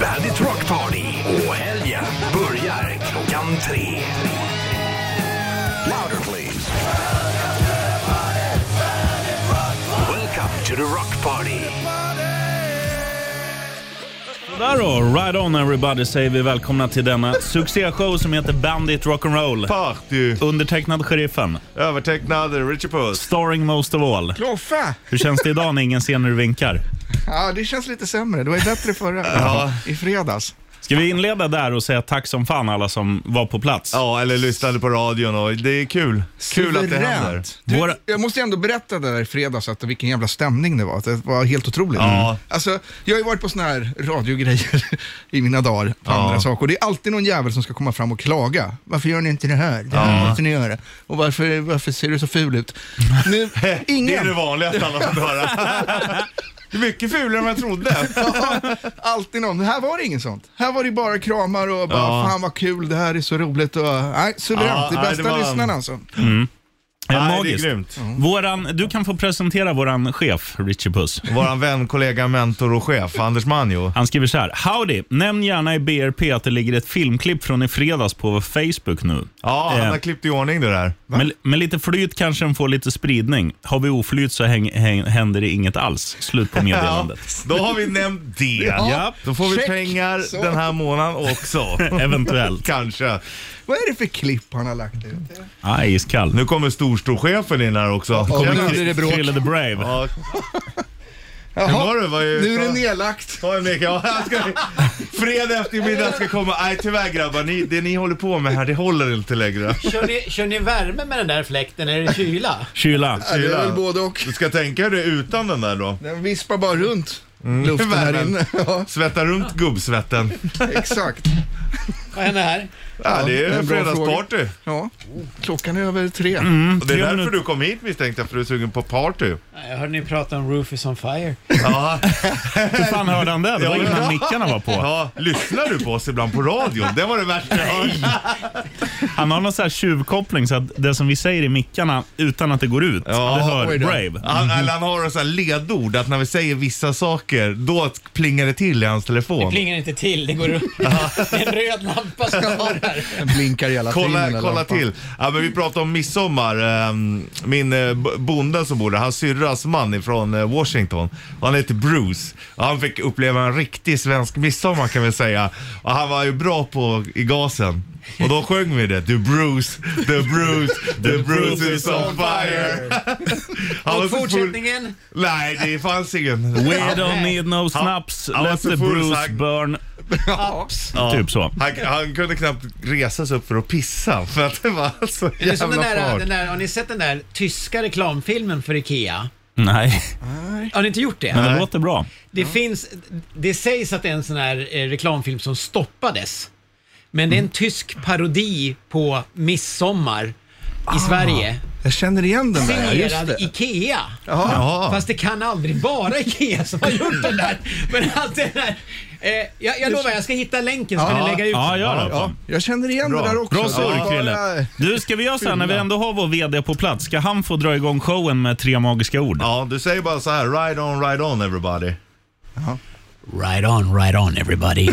Bandit Rock Party och helgen börjar klockan tre. Louder please. Welcome to the Rock Party. Där då, Ride On Everybody säger vi välkomna till denna succéshow som heter Bandit Rock'n'Roll. Party. Undertecknad Sheriffen, Övertecknad Richard Puss. starring most of all. Kloffe! Hur känns det idag när ingen ser när du vinkar? Ja, det känns lite sämre. Det var ju bättre förra. I fredags. Ska vi inleda där och säga tack som fan alla som var på plats? Ja, eller lyssnade på radion och det är kul. Kul att det Suveränt. händer. Du, Våra- Jag måste ju ändå berätta det där i fredags, att vilken jävla stämning det var. Att Det var helt otroligt. Ja. Alltså, jag har ju varit på såna här radiogrejer i mina dagar, på andra saker. Och Det är alltid någon jävel som ska komma fram och klaga. Varför gör ni inte det här? Det här måste ni göra. Och varför, varför ser du så ful ut? Nu, ingen. Det är det vanligaste alla får höra. Det är mycket fulare än jag trodde. Alltid någon. Här var det ingen sånt. Här var det bara kramar och bara Ja. fan vad kul, det här är så roligt. Och, nej, suveränt. Ja, det är nej, bästa det var- lyssnarna alltså. Eh, Nej, magiskt. det är grymt. Mm. Våran, du kan få presentera våran chef, Richie Puss. Våran vän, kollega, mentor och chef, Anders Manjo. Han skriver så här. Howdy! Nämn gärna i BRP att det ligger ett filmklipp från i fredags på vår Facebook nu. Ja, han Eh. har klippt i ordning det där. Med, med lite flyt kanske den får lite spridning. Har vi oflyt så häng, häng, händer det inget alls. Slut på meddelandet. Då har vi nämnt det. Ja. Då får vi Check. pengar Så. den här månaden också. Eventuellt. Kanske. Vad är det för klipp han har lagt ut? Ah, iskall. Nu kommer storstorchefen in här också. nu Tjena. blir det bråk. Krille the Brave. Ja, Jaha, hur var det? Vad är- nu är det nedlagt. Ta en lek. Ja, jag ska... Fredag eftermiddag ska komma. Nej tyvärr grabbar, ni, det ni håller på med här det håller inte längre. Kör ni, kör ni värme med den där fläkten eller är det kyla? Kyla. Ja, det är väl både och. Du ska tänka dig utan den där då. Den vispar bara runt luften här Mm. värmen. inne. Ja, Svätta runt gubbsvetten. exakt. Vad händer här? Ja, det är det är en bra fredagsparty. Ja. Klockan är över tre. Och det är Tre därför minuter. du kom hit misstänkte jag, för du är sugen på party. Jag hörde ni prata om Roof is on fire. Ja, Hur fan hörde han det? Det var innan mickarna var på. ja. Lyssnar du på oss ibland på radion? Det var det värsta jag hört. Han har någon sån här tjuvkoppling så att det som vi säger i mickarna utan att det går ut, Ja, det oj hör då. Brave. Han, eller han har så här ledord att när vi säger vissa saker, då plingar det till i hans Det telefon. plingar inte till, det går upp. Det är en röd lampa som svarar. Den blinkar hela tiden. den Kolla, där kolla lampan. till. Ja, men vi pratade om midsommar. Ehm, Min eh, b- bonde som bor där, hans syrras man ifrån eh, Washington. Och Han heter Bruce. Och Han fick uppleva en riktig svensk midsommar kan vi säga. Och han var ju bra på i gasen. Och då sjöng vi det. Du Bruce, the Bruce, the Bruce is on fire. Han var Och så full- fortsättningen? Nej, det fanns ingen. We don't need no snaps, han var let så the full Bruce så han- burn. Ja. Typ så. Han, han kunde knappt resa sig upp för att pissa för att det var så Det är som den jävla där, fart. den där, har ni sett den där tyska reklamfilmen för IKEA? Nej, Har ni inte gjort det? men det låter bra. Det finns, det sägs att det är en sån här eh, reklamfilm som stoppades. Men det är en tysk parodi på midsommar i Sverige. Jag känner igen den där, ja, just Signerad det. IKEA. Jaha. Fast det kan aldrig vara IKEA som har gjort den där. Men allt det där. Eh, jag, jag lovar, jag ska hitta länken så kan ni lägga ut Ja, den. gör det. Ja, jag känner igen Bra. det där också. Bra Det surr, var Krille. bara- Du, ska vi göra så här när vi ändå har vår VD på plats? Ska han få dra igång showen med tre magiska ord? Ja, du säger bara så här, ride on, ride on everybody. Right on, right on everybody.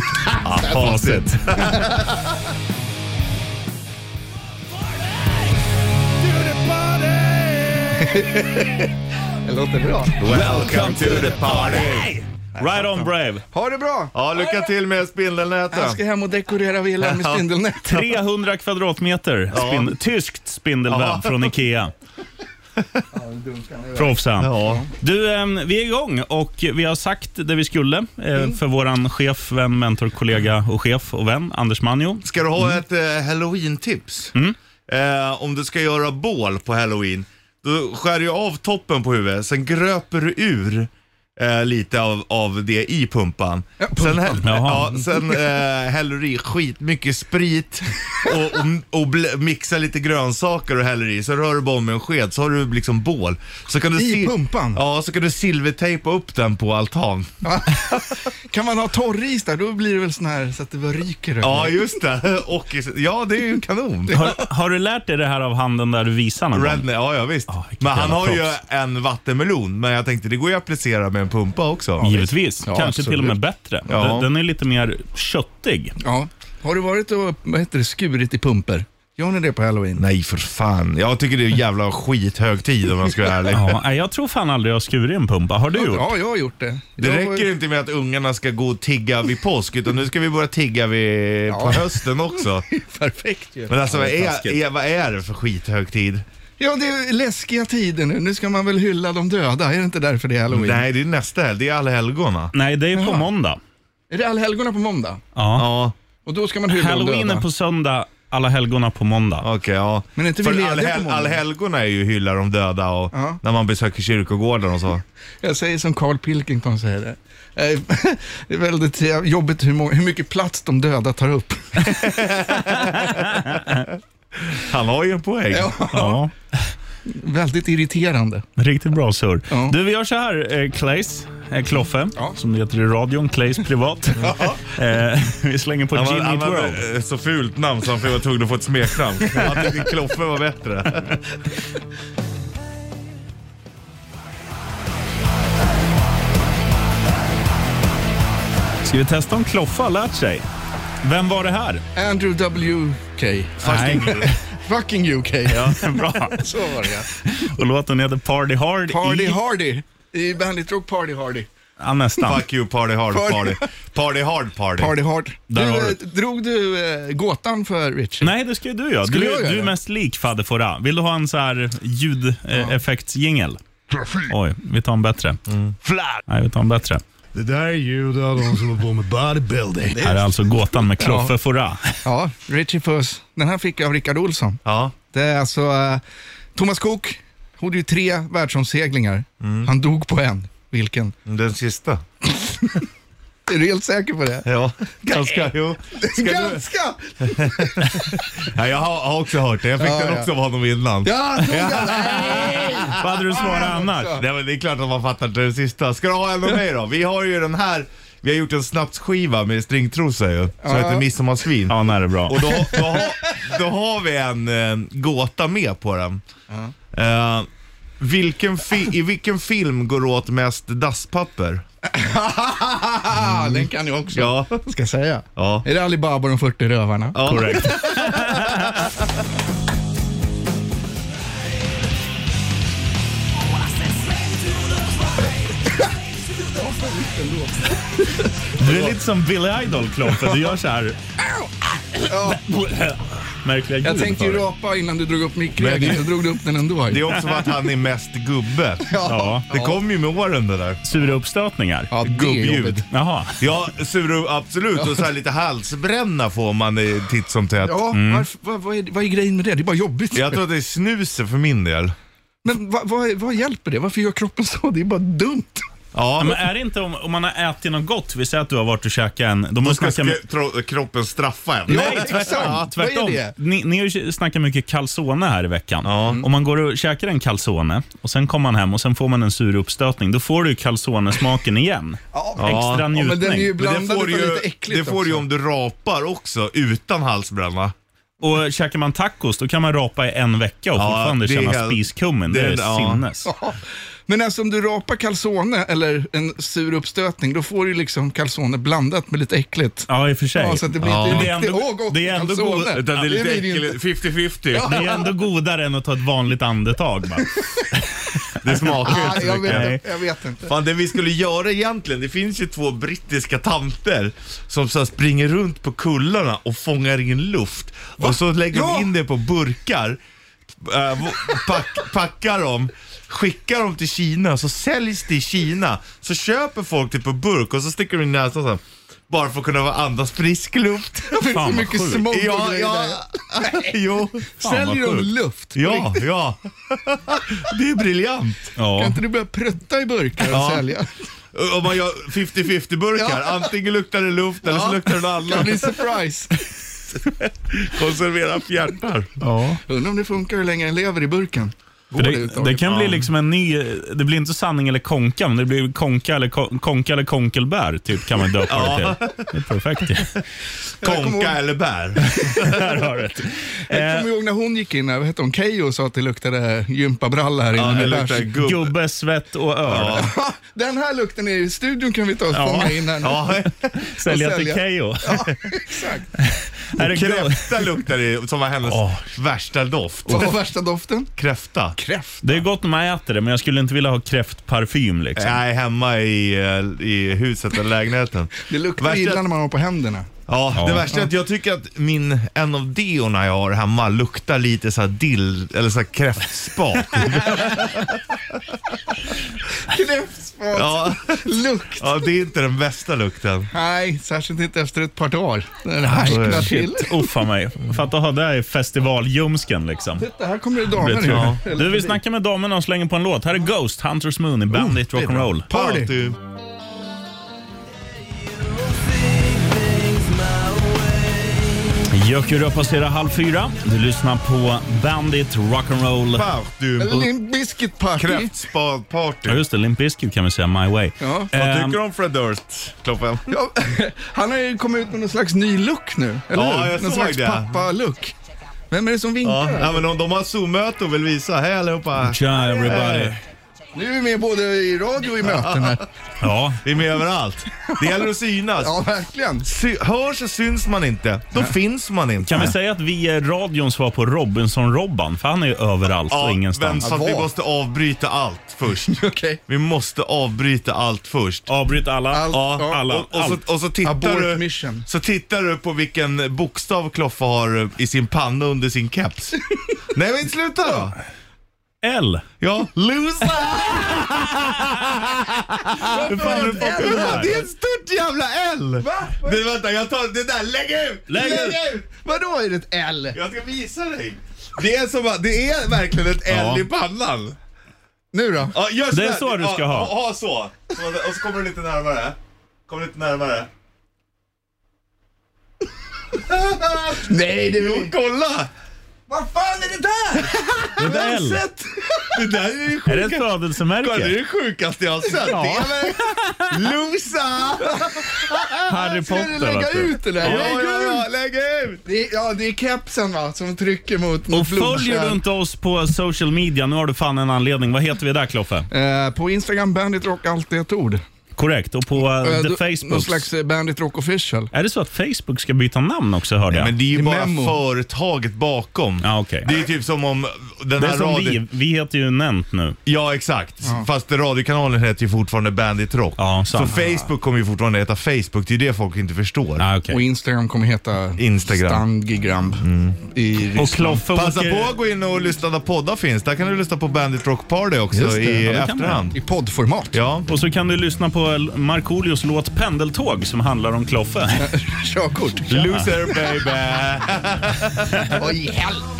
Ja, facit. Det låter bra. Welcome to the party. Right on Brave. Ha det bra. Ja, lycka till med Jag ska spindelnäten. hem och dekorera villan med spindelnät. 300 kvadratmeter spin- tyskt spindelväv Ja. från IKEA. Proffs han. Ja. Du, ehm, vi är igång och vi har sagt det vi skulle eh, Mm. för våran chef, vän, mentor, kollega och chef och vän, Anders Manjo. Ska du ha ett eh, halloween-tips? Eh, om du ska göra bål på halloween, då skär du av toppen på huvudet, sen gröper du ur eh, lite av, av det i pumpan. Sen, häll, Jaha. ja, sen eh, häller du i skitmycket sprit och, och, och bl- mixar lite grönsaker och häller i. Så rör du bara om med en sked så har du liksom bål. Så kan du I sil- pumpan? Ja, så kan du silvertejpa upp den på altan. Kan man ha torris där, då blir det väl sån här så att det bara ryker. Ja, just det. Och, i- ja, det är ju kanon. Har, har du lärt dig det här av handen där du visar någon gång? Redneck, ja, ja visst. Ja, vilket men han jävla har ju proffs. en vattenmelon, men jag tänkte det går ju att applicera med än pumpa också. Givetvis. Ja, Kanske absolut. till och med bättre. Ja. Den- Den är lite mer köttig. Ja. Har du varit och vad heter det, skurit i pumper? Gör ni det på halloween? Nej för fan. Jag tycker det är jävla skithög tid om man ska vara ärlig. Ja, nej, jag tror fan aldrig jag har skurit en pumpa. Har du gjort? Ja, jag har gjort det. Det jag räcker inte med att ungarna ska gå och tigga vid påsk, utan nu ska vi börja tigga vid, på hösten också. Perfekt ju. Men alltså vad är är, taskigt. är, vad är det för skithögtid? Ja, det är läskiga tider nu. Nu ska man väl hylla de döda? Är det inte därför det är halloween? Nej, det är nästa helg. Det är allhelgona. Nej, det är på måndag. Är det allhelgona på måndag? Ja. Ja, Och då ska man hylla de Halloween döda? är på söndag, alla helgona på måndag. okej. ja. Men är inte vi För lediga på allhel- måndag? allhelgona är ju hylla de döda och Ja. när man besöker kyrkogården och så. Jag säger som Carl Pilkington säger det. Eh, Det är väldigt eh, jobbigt hur, må- hur mycket plats de döda tar upp. Han har ju en poäng. Ja. Väldigt irriterande. Riktigt bra surr. Ja. Du, vi gör så här, eh, Claes, eh, Kloffe, Ja. som det heter i radion, Claes privat. eh, vi slänger på Han, var, Jimmy han World. hade eh, så fult namn så han var tvungen att få ett smeknamn. Han tyckte Kloffe var bättre. Ska vi testa om Kloffe har lärt sig? Vem var det här? Andrew W.K. Nej. Fucking UK. ja, bra. Så var det ja. Och låten heter Party Hard Party i... Hardy. I Bandit Rock Party Hardy. Ja, nästan. Fuck you party hard Party- party. Party hard party. Party Hard. Där Du, har du. eh, Drog du eh, gåtan för Richard? Nej, det ska ju du göra. Skulle jag Du, göra du det? är mest lik Fadde Fora. Vill du ha en så här ljudeffektsjingel? Oj, vi tar en bättre. Nej, vi tar en bättre. Det där är ljud av de som håller på med bodybuilding. Här är alltså gåtan med Kloffe Ja. Fora. Ja, Richie Puss. Den här fick jag av Rickard Olsson. Ja. Det är alltså eh, Thomas Cook. Hade ju tre världsomseglingar. Mm. Han dog på en. Vilken? Den sista. Är du helt säker på det? Ja, ganska. Jo. Ska du... Ganska! ja, jag har har också hört det. Jag fick Ja, den ja. också av honom innan. Ja, tog han! Nej! Vad hade du svarat annars? också. Nej, men det är klart att man fattar inte den sista. Ska du ha en av mig då? Vi har ju den här. Vi har gjort en snapsskiva med stringtrosa ju, som heter Midsommarsvin. Ja, nej, det är bra. Och då, då, har, då har vi en eh, gåta med på den. Eh, vilken fi- I vilken film går det åt mest dasspapper? Ah, den kan jag också. Ja. Ska jag säga? ja. Är det Ali Baba och de 40 rövarna? ja. Korrekt. Du är lite som Billy Idol, Kloffe. Du gör så här... Märkliga ljud. Jag tänkte ju för dig. rapa innan du drog upp mickregeln, så drog du upp den ändå. Det är ju. också för att han är mest gubbe. Ja. Det kom ju med åren det där. Sura uppstötningar. Ja, det är Gubbljud. jobbigt. Jaha. Ja, suru, absolut. Och så här lite halsbränna får man eh, titt som tätt. Ja, varför, vad, vad, är, vad är grejen med det? Det är bara jobbigt. Mm. Jag tror att det är snuset för min del. Men vad, vad, vad hjälper det? Varför gör kroppen så? Det är bara dumt. Ja, Men är det inte om, om man har ätit något gott, vi säger att du har varit och käkat en... Då då måste ska man snacka, sk- tro- kroppen straffa en. Nej, exakt. tvärtom. Vad är tvärtom. det? Mm. Ni, ni har ju snackat mycket calzone här i veckan. Ja. Om man går och käkar en calzone och sen kommer man hem och sen får man en sur uppstötning, då får du ju calzone-smaken igen. Extra Ja, njutning. men den är ju Men det blandad får, utav du ju, lite äckligt det får du ju också. om du rapar också, utan halsbränna. Och käkar man tacos, då kan man rapa i en vecka och Ja, fortfarande det är känna helt- spiskummen. Det, det är- är ja. sinnes. Ja. Men alltså om du rapar calzone eller en sur uppstötning, då får du liksom calzone blandat med lite äckligt. Ja, i och för sig. Ja, så att det blir Ja. inte Men det är riktigt ändå- åh, gott det är ändå calzone. goda- Utan det är lite blir ju inte. äckligt, 50-50. Det är ändå godare än att ta ett vanligt andetag. Bara. Det smakar ju Ah, inte så jag, mycket. vet, inte- jag vet inte. Fan, det vi skulle göra egentligen, det finns ju två brittiska tanter som så här springer runt på kullarna och fångar in luft. Och så lägger Ja. de in det på burkar, äh, vo- pack, packar dem, skickar dem till Kina, så säljs det i Kina. Så köper folk det på burk och så sticker de in näsan så här, bara för att kunna andas frisk luft. Det Fan, finns så vad mycket sjukt. smog och Ja, grejer där. ja, jo. Fan, vad Säljer de sjukt. luft? Ja, ja. Det är briljant. Kan Ja. inte du börja prutta i burkar och Ja. sälja? Om man gör 50-50 burkar, Ja. antingen luktar det luft eller så Ja. luktar det något Kan det annat. bli surprise? Konservera fjärtar. Undrar om det funkar hur länge den lever i burken. Går det, Det, det överhuvudtaget? kan bli liksom en ny, det blir inte sanning eller konka, men det blir konka eller, kon- konka eller konkelbär, typ, kan man döpa det till. Det är perfekt. ju. Konka eller bär? Där har du det. Jag Eh, kommer ihåg när hon gick in, här, vad hette hon, Keyyo och sa att det luktade gympabralla här inne Ja, det med luktar bärs. gubb. gubbe, svett och öl. Ha, Den här lukten är i studion kan vi ta och Ja. fånga in här nu. Ja, Sälja till sälja. Keyyo. Ja, exakt. Här är gu- kräfta luktar det som var hennes Åh. värsta doft. Vad var värsta doften? Kräfta. Kräft. Det är gott när man äter det, men jag skulle inte vilja ha kräftparfym. Liksom. Jag är hemma i, eh, i huset eller lägenheten. Det luktar Värsta- illa när man har på händerna. Ja, det Ja. värsta är att jag tycker att min, en av deorna jag har hemma luktar lite så här dill, eller så här kräftspat. Kräftspat. ja. Lukt. ja, det är inte den bästa lukten. Nej, särskilt inte efter ett par dagar. Den harknar till. Shit, uffa mig. Fatta att ha det här i festivaljumsken. Liksom. Titta, här kommer det damer Vet du. nu. Du, vi snackar med damerna och slänger på en låt. Här är Ghost, Hunters Moon i Bandit Rock'n'Roll. Party. Party. Jökurö passerar halv fyra. Du lyssnar på Bandit Rock'n'Roll. Party. Eller Limp Bizkit Party. Kräftspat-party. Ja, just det. Limp Bizkit kan vi säga, My Way. Ja. Vad Mm. Ehm, tycker du om Fred Durst, Kloppen? Ja, han har ju kommit ut med någon slags ny look nu, eller Ja, hur? jag Någon såg slags det. pappa-look. Vem är det som vinkar? Ja, ja, men de, de har Zoom-möte och vill visa. Hej allihopa. Tja everybody. Nu är vi med både i radio och i möten här. Ja, Vi är med överallt. Det gäller att synas. Ja, verkligen. Sy- hörs och syns man inte, då finns man inte. kan vi säga att vi är radions svar på Robinson-Robban? För han är ju överallt Ja, och men ingenstans. så att vi Vad? måste avbryta allt först. Okej. Vi måste avbryta allt först. Avbryt alla. Allt. ja, alla. Och, och, allt. så, och så, tittar Abort du, mission. så tittar du på vilken bokstav Kloffe har i sin panna under sin keps. Nej men sluta då! L. Ja, loser! Hur fan har du fått L? det där? Det är ett stort jävla L! Va? Det, vänta, jag tar det där. Lägg ut! Lägg ut! Vadå är det ett L? Jag ska visa dig. Det är, som, att- det är verkligen ett L Ja. i pannan. Nu då? Ja, gör Det är här. så du ska ja, ha. Ja, ja, så. så. Och så kommer du lite närmare. Kommer lite närmare. Nej, det Jo, kolla! Vad fan är det där? Det är L. Det där är det Är det ett sjukaste, det är födelsemärke? det sjukaste jag har sett. Ja. Det är väl... Losa! Harry Ska du Potter. typ? lägga vet du. ut det Ja, där? Lägg ja, ja, ut! lägg ut! Det är, ja, det är kepsen va, som trycker mot Och mot följer blodkärl. du inte oss på social media, nu har du fan en anledning. Vad heter vi där Kloffe? Eh, på Instagram, Bandit Rock, alltid ett ord. Korrekt. Och på eh, Eh, the då- Någon Facebook. slags eh, Bandit Rock official. Är det så att Facebook ska byta namn också hörde jag? Men det är ju I bara memo. företaget bakom. Ja, okej. Det är typ som om den Det är här som radion... vi, vi heter ju Nent nu. Ja, exakt. Fast radiokanalen heter ju fortfarande Bandit Rock. Ja, så sant. Facebook kommer ju fortfarande heta Facebook. Det är det folk inte förstår. Ah, okej. Och Instagram kommer heta Instagram. Stangigram. I Och Ryssland. Kloffe Passa åker... på att gå in och lyssna där poddar finns. Där kan du lyssna på Bandit Rock Party också Just det, i ja, det kan efterhand. I poddformat. Ja. Och så kan du lyssna på Markoolios låt Pendeltåg som handlar om Kloffe. Körkort. Loser baby! Vad i helvete?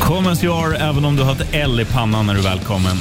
Kom as you are, även om du har ett L i pannan när du välkommen.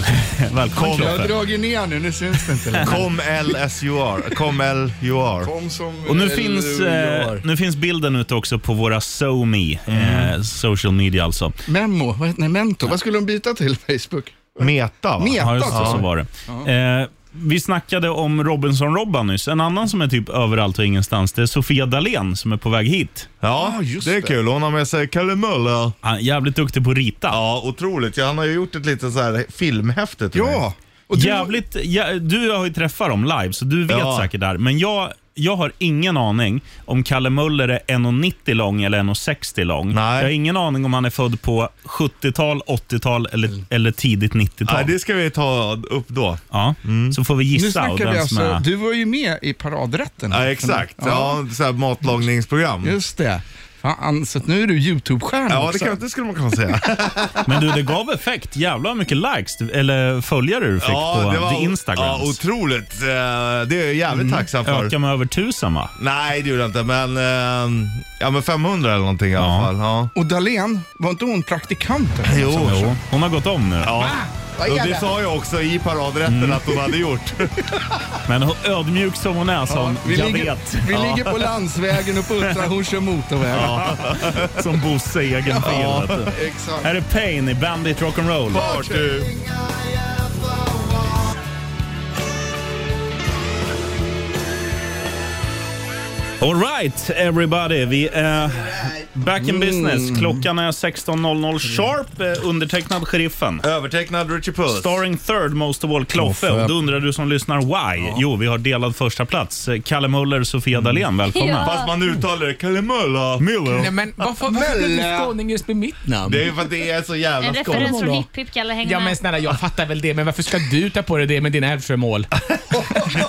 Välkommen Jag har Kloffe. dragit ner nu, nu syns det inte längre. Kom LSUR. Kom LUR. Kom som Och nu eller finns, hur jag eh, gör. nu finns bilden ute också på våra SoMe, Mm. eh, social media alltså. Memo, vad heter, nej, Mento. Vad skulle de byta till Facebook? Meta va? Meta Ja, just det, alltså. så var det. Eh, vi snackade om Robinson-Robban nyss. En annan som är typ överallt och ingenstans, det är Sofia Dalén som är på väg hit. Ja, Ah, just det är det. kul. Hon har med sig Kalle Möller. Han är jävligt duktig på att rita. Ja, otroligt. Ja, Han har ju gjort ett litet så här filmhäfte till mig. Ja. Och du, Jävligt, ja, du har ju träffat dem live, så du vet Ja. säkert där. Men jag, jag har ingen aning om Kalle Möller är 1,90 lång eller 1,60 lång. Nej. Jag har ingen aning om han är född på 70-tal, 80-tal eller, eller tidigt 90-tal. Nej, det ska vi ta upp då. ja. Så får vi nu gissa. och snackar den vi som alltså, är... du var ju med i paradrätten. Ja, exakt. Ja, så här matlagningsprogram. Just det. Fan, så att nu är du YouTube-stjärna Ja, det, också. kan, det skulle man kunna säga. Men du, det gav effekt. Jävlar vad mycket likes, du- eller följare du fick på the Ja, Instagrams. otroligt. Eh, Det är jag jävligt tacksam för. Ökar med över tusen va? Nej, det gjorde jag inte, men, eh, ja, men 500 eller någonting i alla fall. Ja. Och Dahlén, var inte hon praktikant? Jo. Hon har gått om nu. Ja. Och det sa jag också i paradrätten att hon hade gjort. Men hon- ödmjuk som hon är, sa hon. vi Jag ligger, vet. vi ligger på landsvägen och puttrar, hon kör motorväg. Som Bosse i egen Ja. bil. vet du. Exakt. Här är Pain i Bandit Rock'n'Roll. Party. Alright everybody, vi är back in business. Klockan är 16.00 sharp, eh, undertecknad Sheriffen. Övertecknad Richie Puss. Starring third most of all Kloffe. Kloffe. Och då undrar du som lyssnar why? Jo, vi har delad första plats. Eh, Kalle Möller, Sofia Dalén, välkomna. Ja. Fast man uttalar det Kalimöla. Nej men varför, varför blev skåning just med mitt namn? Det är ju för att det är så jävla En skoj. referens från Hipp Hipp Kalle, häng Ja men med. snälla jag fattar väl det, men varför ska du ta på dig det med dina Älvsjömål?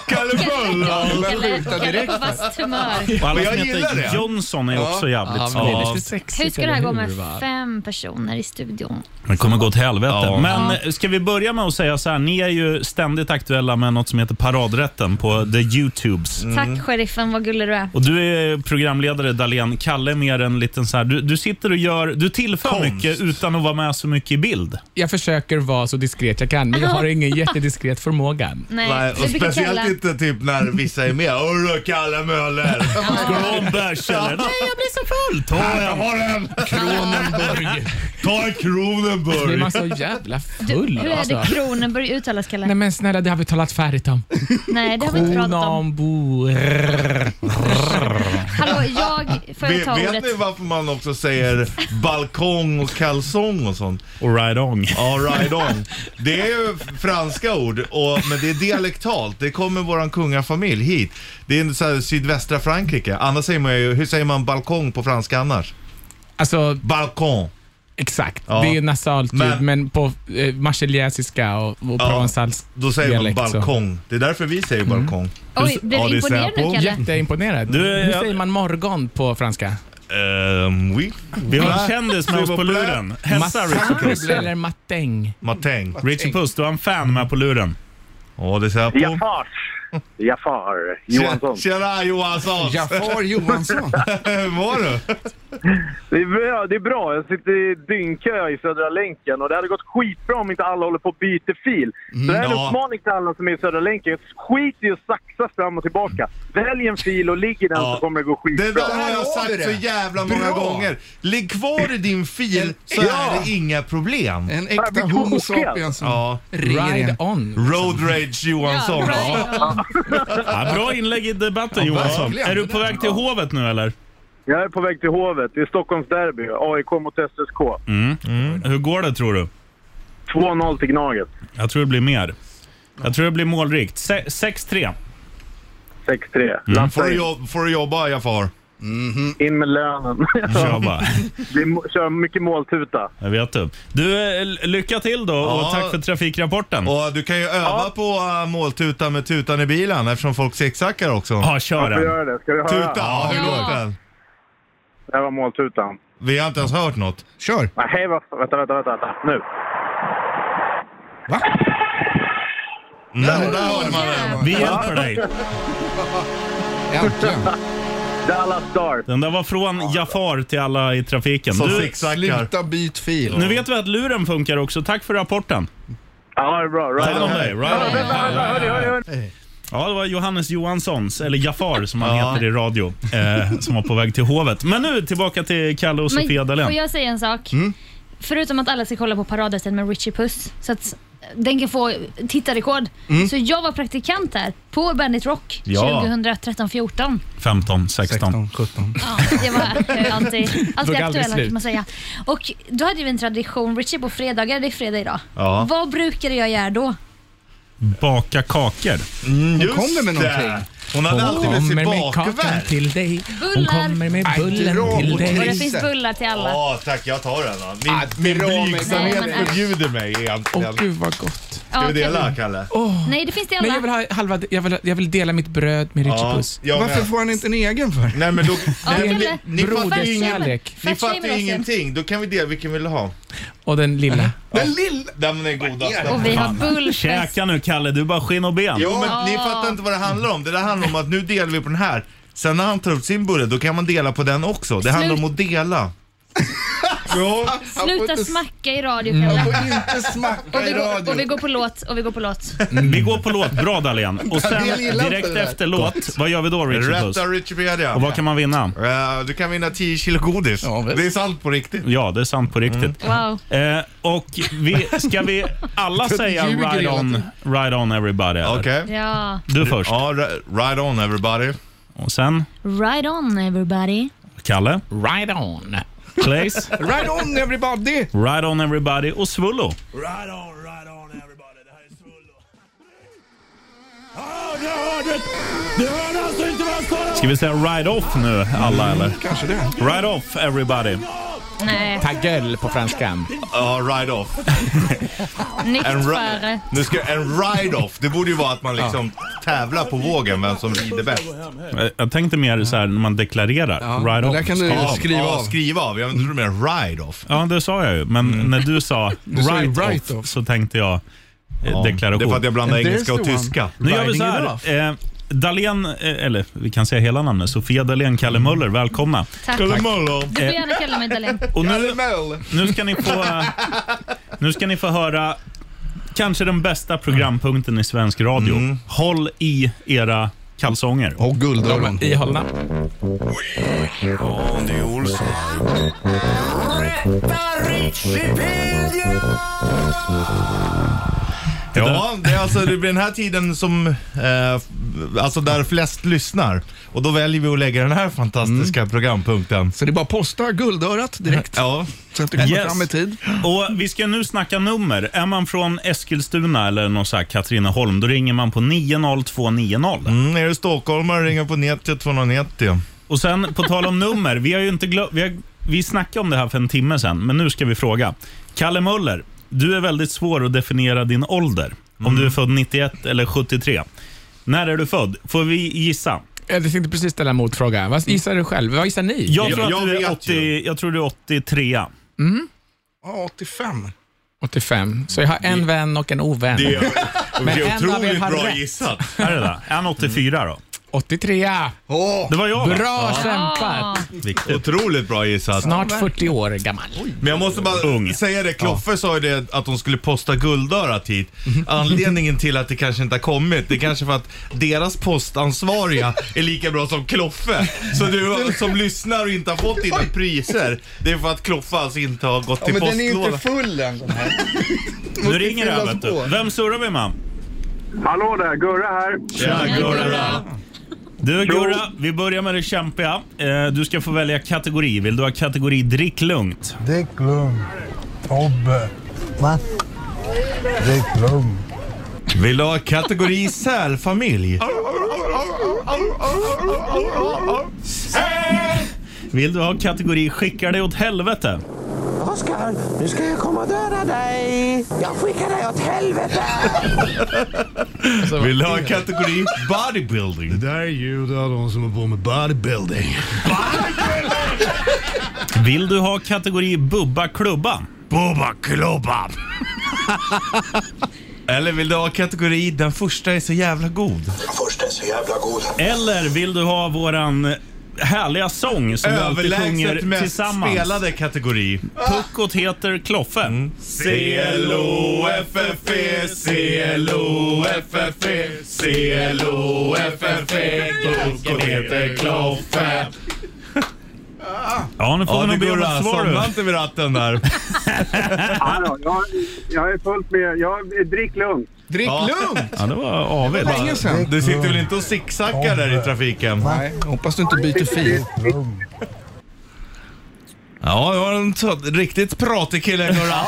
Kalimölla. Kalle, skjuta Kalle direkt. på vasst humör. Och alla Men som jag gillar heter det. Johnson Alltså, är också jävligt men det är snygga. lite sexigt, Hur ska det här eller gå hur, med va? fem personer i studion? Det kommer gå till helvete. Ja. Men eh, ska vi börja med att säga så här, ni är ju ständigt aktuella med något som heter Paradrätten på the Youtubes. Tack sheriffen, vad gullig du är. Och Du är programledare Dahlén. Kalle är mer en liten så här, du, du sitter och gör, du tillför Konst. mycket utan att vara med så mycket i bild. Jag försöker vara så diskret jag kan, men jag har ingen jättediskret förmåga. Nej, Nej, vi och brukar speciellt kalla... inte typ när vissa är med. Åh, Kalle Möller. Ska du ha en bärs eller? Nej, jag blir så full. Ta Jag en. har en. Kronenburg. Ta en Blir Kronenburg. man så jävla Du, full hur är alltså? det Kronenburg uttalas Kalle? Nej men snälla, det har vi talat färdigt om. Nej, det har vi inte pratat om. Kronenburg. Hallå, jag får jag Vet, ta vet ordet. ni varför man också säger balkong och kalsong och sånt? Och right on. Ja, right on. Det är ju franska ord, och, men det är dialektalt. Det kommer våran kungafamilj hit. Det är en så här sydvästra Frankrike. Annars säger man ju, hur säger man balkong på franska annars? Alltså, Balkong. exakt. Ja. Det är nasalt ljud, Men- men, på eh, marseljäsiska och, och Ja, provensalsk Då säger dialekt, man så. balkong. Det är därför vi säger Mm. balkong. Oj, blev Ja, du det är imponerad nu Säpo. Kalle? Jätteimponerad. Du, Hur jag- säger man morgon på franska? Ehm, oui. Vi har en kändis med oss på luren. Hälsa Richie Puss. Massage eller matäng? Matäng. Richie Puss, du har en fan med på luren. Ja, det är Säpo. Jafar. Jafar Johansson. Tjena Johansson! Jafar Johansson. Hur mår du? Det är, bra, det är bra. Jag sitter i dyngkö i Södra länken och det hade gått skitbra om inte alla håller på att byta fil. Så det här är en Mm, Ja. uppmaning till alla som är i Södra länken. Skit i att saxa fram och tillbaka. Välj en fil och ligg i den Ja. så kommer det gå Det skitbra. där har har jag vi sagt det. så jävla många Bra. gånger. Ligg kvar i din fil så är det inga problem. En vi äkta kokar. homo sapiens som Ja. Ride ringer on. Road rage Johansson. Ja. Ja, Ja, bra inlägg i debatten Johansson. verkligen. Är du på väg till hovet nu eller? Jag är på väg till Hovet. Det är Stockholms derby. AIK mot SSK. Mm. Hur går det tror du? 2-0 till Gnaget. Jag tror det blir mer. Jag tror det blir målrikt. Se- 6-3. 6-3. Mm. Får, Latta du in. jobba, får du jobba Jafar? in med lönen. Kör bara. Vi må- kör mycket måltuta. Jag vet du. Du, eh, lycka till då och Ja. tack för trafikrapporten. Och du kan ju öva på äh, måltutan med tutan i bilen eftersom folk zigzaggar också. Ja, kör Ska vi den. göra det? Ska vi höra? Tuta, ja. hur Ja. låter den? Det här var måltutan. Vi har inte ens hört något. Kör. Nej, vad... Vänta, vänta, vänta, vänta. Nu. Va? Nej, där hörde man den. Vi hjälper dig. Äntligen. Dallas Stars. Den där var från Jafar till alla i trafiken. Som Du, zigzaggar. Sluta byt fil. nu vet vi att luren funkar också. Tack för rapporten. Ja, det är bra. Right Hand om on. dig. Right on. Hörni, hörni, hörni. Ja, det var Johannes Johanssons, eller Jafar som han heter i radio, eh, som var på väg till hovet. Men nu tillbaka till Kalle och Sofia Men får Dalén. jag säga en sak? Förutom att alla ska kolla på paradrätten med Richie Puss, så att den kan få tittarrekord. Så jag var praktikant här på Bandit Rock Ja. 2013-14. 15, 16. 16, 17. Ja, det var eh, alltid, alltid aldrig aktuella slut. kan man säga. Och då hade vi en tradition, Richie på fredagar, det är fredag idag. Ja. Vad brukade jag göra då? Baka kakor. Just kommer med det. någonting. Hon hade Hon alltid med sig kommer med kakan bakverk. till dig. Hon Bullar. kommer med Nej, dra bullen till åt Och dig. det Just finns det. bullar till alla. Ja, tack. Jag tar den. då. Ah, Min, min bra med- Nej, men blygsamhet äsch. förbjuder mig Åh egentligen. gud vad gott. Ja, Ska vi okej. dela Kalle? Nej, det finns till Men jag alla. vill, ha halva, jag vill, jag vill dela mitt bröd med Richie Ja, Puss. jag Varför med. får han inte en egen för? Nej men då... Ja, Nej, men Kalle. ni, ni fattar ju Fettshamen. ingen- kärlek. ni Fettshamen fattar oss ju igen. ingenting. Då kan vi dela vilken vi vill ha. Och den lilla. Den lilla! Den är godast. Och vi har bullfest. Käka nu Kalle, du är bara skinn och ben. Jo men Ja. ni fattar inte vad det handlar om. Det där handlar om att nu delar vi på den här. Sen när han tar upp sin bulle, då kan man dela på den också. Det handlar om att dela. Ja. Han får Sluta inte- smacka i radio Han Kalle. får inte smacka Och vi, i går, och vi radio. går på låt. Och vi går på låt. Vi går på låt. Bra Dahlén. Och sen Dahlén gillar inte direkt det där. efter låt, vad gör vi då Richard Puss? Rätta Wikipedia. Och vad kan man vinna? Eh, du kan vinna 10 kilo godis. Ja, visst. det är sant på riktigt. Ja, det är sant på riktigt. Wow. Eh, och vi, ska vi alla säga Mm. ljuger ride hela on, ride on everybody? eller? Okej. Ja. Du först. Ja, ri- right on everybody. Och sen Ride on everybody. Kalle, Right on. Claes, Right on everybody! Ride on everybody och Svullo. Right on, right on everybody. Det här är Svullo. alltså Ska vi säga ride off nu alla eller? Mm, Kanske det. Ride off everybody. Nej, Tagel på franskan. Ja, ride off. En, ri- nykterare. nu ska, en ride off, det borde ju vara att man liksom tävlar på vågen vem som rider bäst. Eh, Jag tänkte mer så här när man deklarerar. ride det off. där kan du Ja. skriva ja, av. Skriva av, jag trodde mer ride off. Ja, det sa jag ju. Men när du sa sa ju right, right off, off. så tänkte jag eh, deklaration. Det är för att jag blandar And there's engelska och the one. tyska. Nu gör vi Riding så it off. här. Eh, Dahlén, eh, eller vi kan säga hela namnet, Sofia Dahlén, Kalle Möller, välkomna. Tack. Möller. Du får gärna kalla mig Dahlén. Och nu, Well, nu, ska ni få, eh, nu ska ni få höra kanske den bästa programpunkten i svensk radio. Håll i era kalsonger. Och guldöron. Ihållna. Andy Olsson. Rätta Wikipedia! Ja, det, är alltså, det blir den här tiden som, eh, alltså där flest lyssnar. Och då väljer vi att lägga den här fantastiska programpunkten. Så det är bara att posta guldörat direkt Ja, så att det kommer Yes. fram i tid. Och Vi ska nu snacka nummer. Är man från Eskilstuna eller någon så här Katrineholm, då ringer man på 90290. mm, är du stockholmare ringer på 90 290. Och sen på tal om nummer, vi har ju inte glömt, vi, har, vi snackade om det här för en timme sedan, men nu ska vi fråga. Kalle Möller, du är väldigt svår att definiera din ålder. Om du är född 91 eller 73. När är du född? Får vi gissa? Jag tänkte precis ställa en motfråga. Vad gissar du själv? Vad gissar ni? Jag tror, Jag- att du jag är vet 80, jag tror du är 83. Ja, 85. 85. Så jag har en vän och en ovän. det är en av er otroligt hade bra rätt. gissat. Är det där? Är han 84 då? 83. Åh, Det var jag va? Bra kämpat. Viktigt. Otroligt bra gissat. Snart 40 år gammal. Men jag måste bara Ung. säga det, Kloffe sa ju det att de skulle posta guldörat hit. Anledningen till att det kanske inte har kommit, det är kanske för att deras postansvariga är lika bra som Kloffe. Så du som lyssnar och inte har fått dina priser, det är för att Kloffe alltså inte har gått till men den är ju postlådan. inte full än. den här. Nu ringer det här, fyllas vet du. på. Vem surrar vi med? Hallå där, Gurra här. Tjena Gurra. Du Gurra, vi börjar med det kämpiga. Eh, Du ska få välja kategori. Vill du ha kategori drick lugnt? Drick lugnt. Tobbe. Va? Drick lugnt. Vill du ha kategori sälfamilj? Vill du ha kategori skickar dig åt helvete? Oskar, nu ska jag komma och döda dig! Jag skickar dig åt helvete! Vill du ha kategori bodybuilding? Det där är ljud av de som håller på med bodybuilding. Vill du ha kategori bubba klubba? Bubba klubba! Eller vill du ha kategori den första är så jävla god? Först är så jävla god. Eller vill du ha våran härliga sång som vi alltid Överlägset sjunger mest tillsammans? spelade Mm. kategori. Puckot heter Kloffe. C-L-O-F-F-E, C-L-O-F-F-E, C-L-O-F-F-E, Puckot heter Kloffe. Ja, nu får Ja, vi det nog be om går ett svar. Somna du. inte vid ratten där. Hallå, jag, jag är fullt med. Jag, drick lugnt. Drick Ja. lugnt! Ja, det var avigt. Länge sedan. Du sitter väl inte och zigzaggar där i trafiken? Nej, hoppas du inte byter fil. Ja, det var en t- riktigt pratig kille Gurra.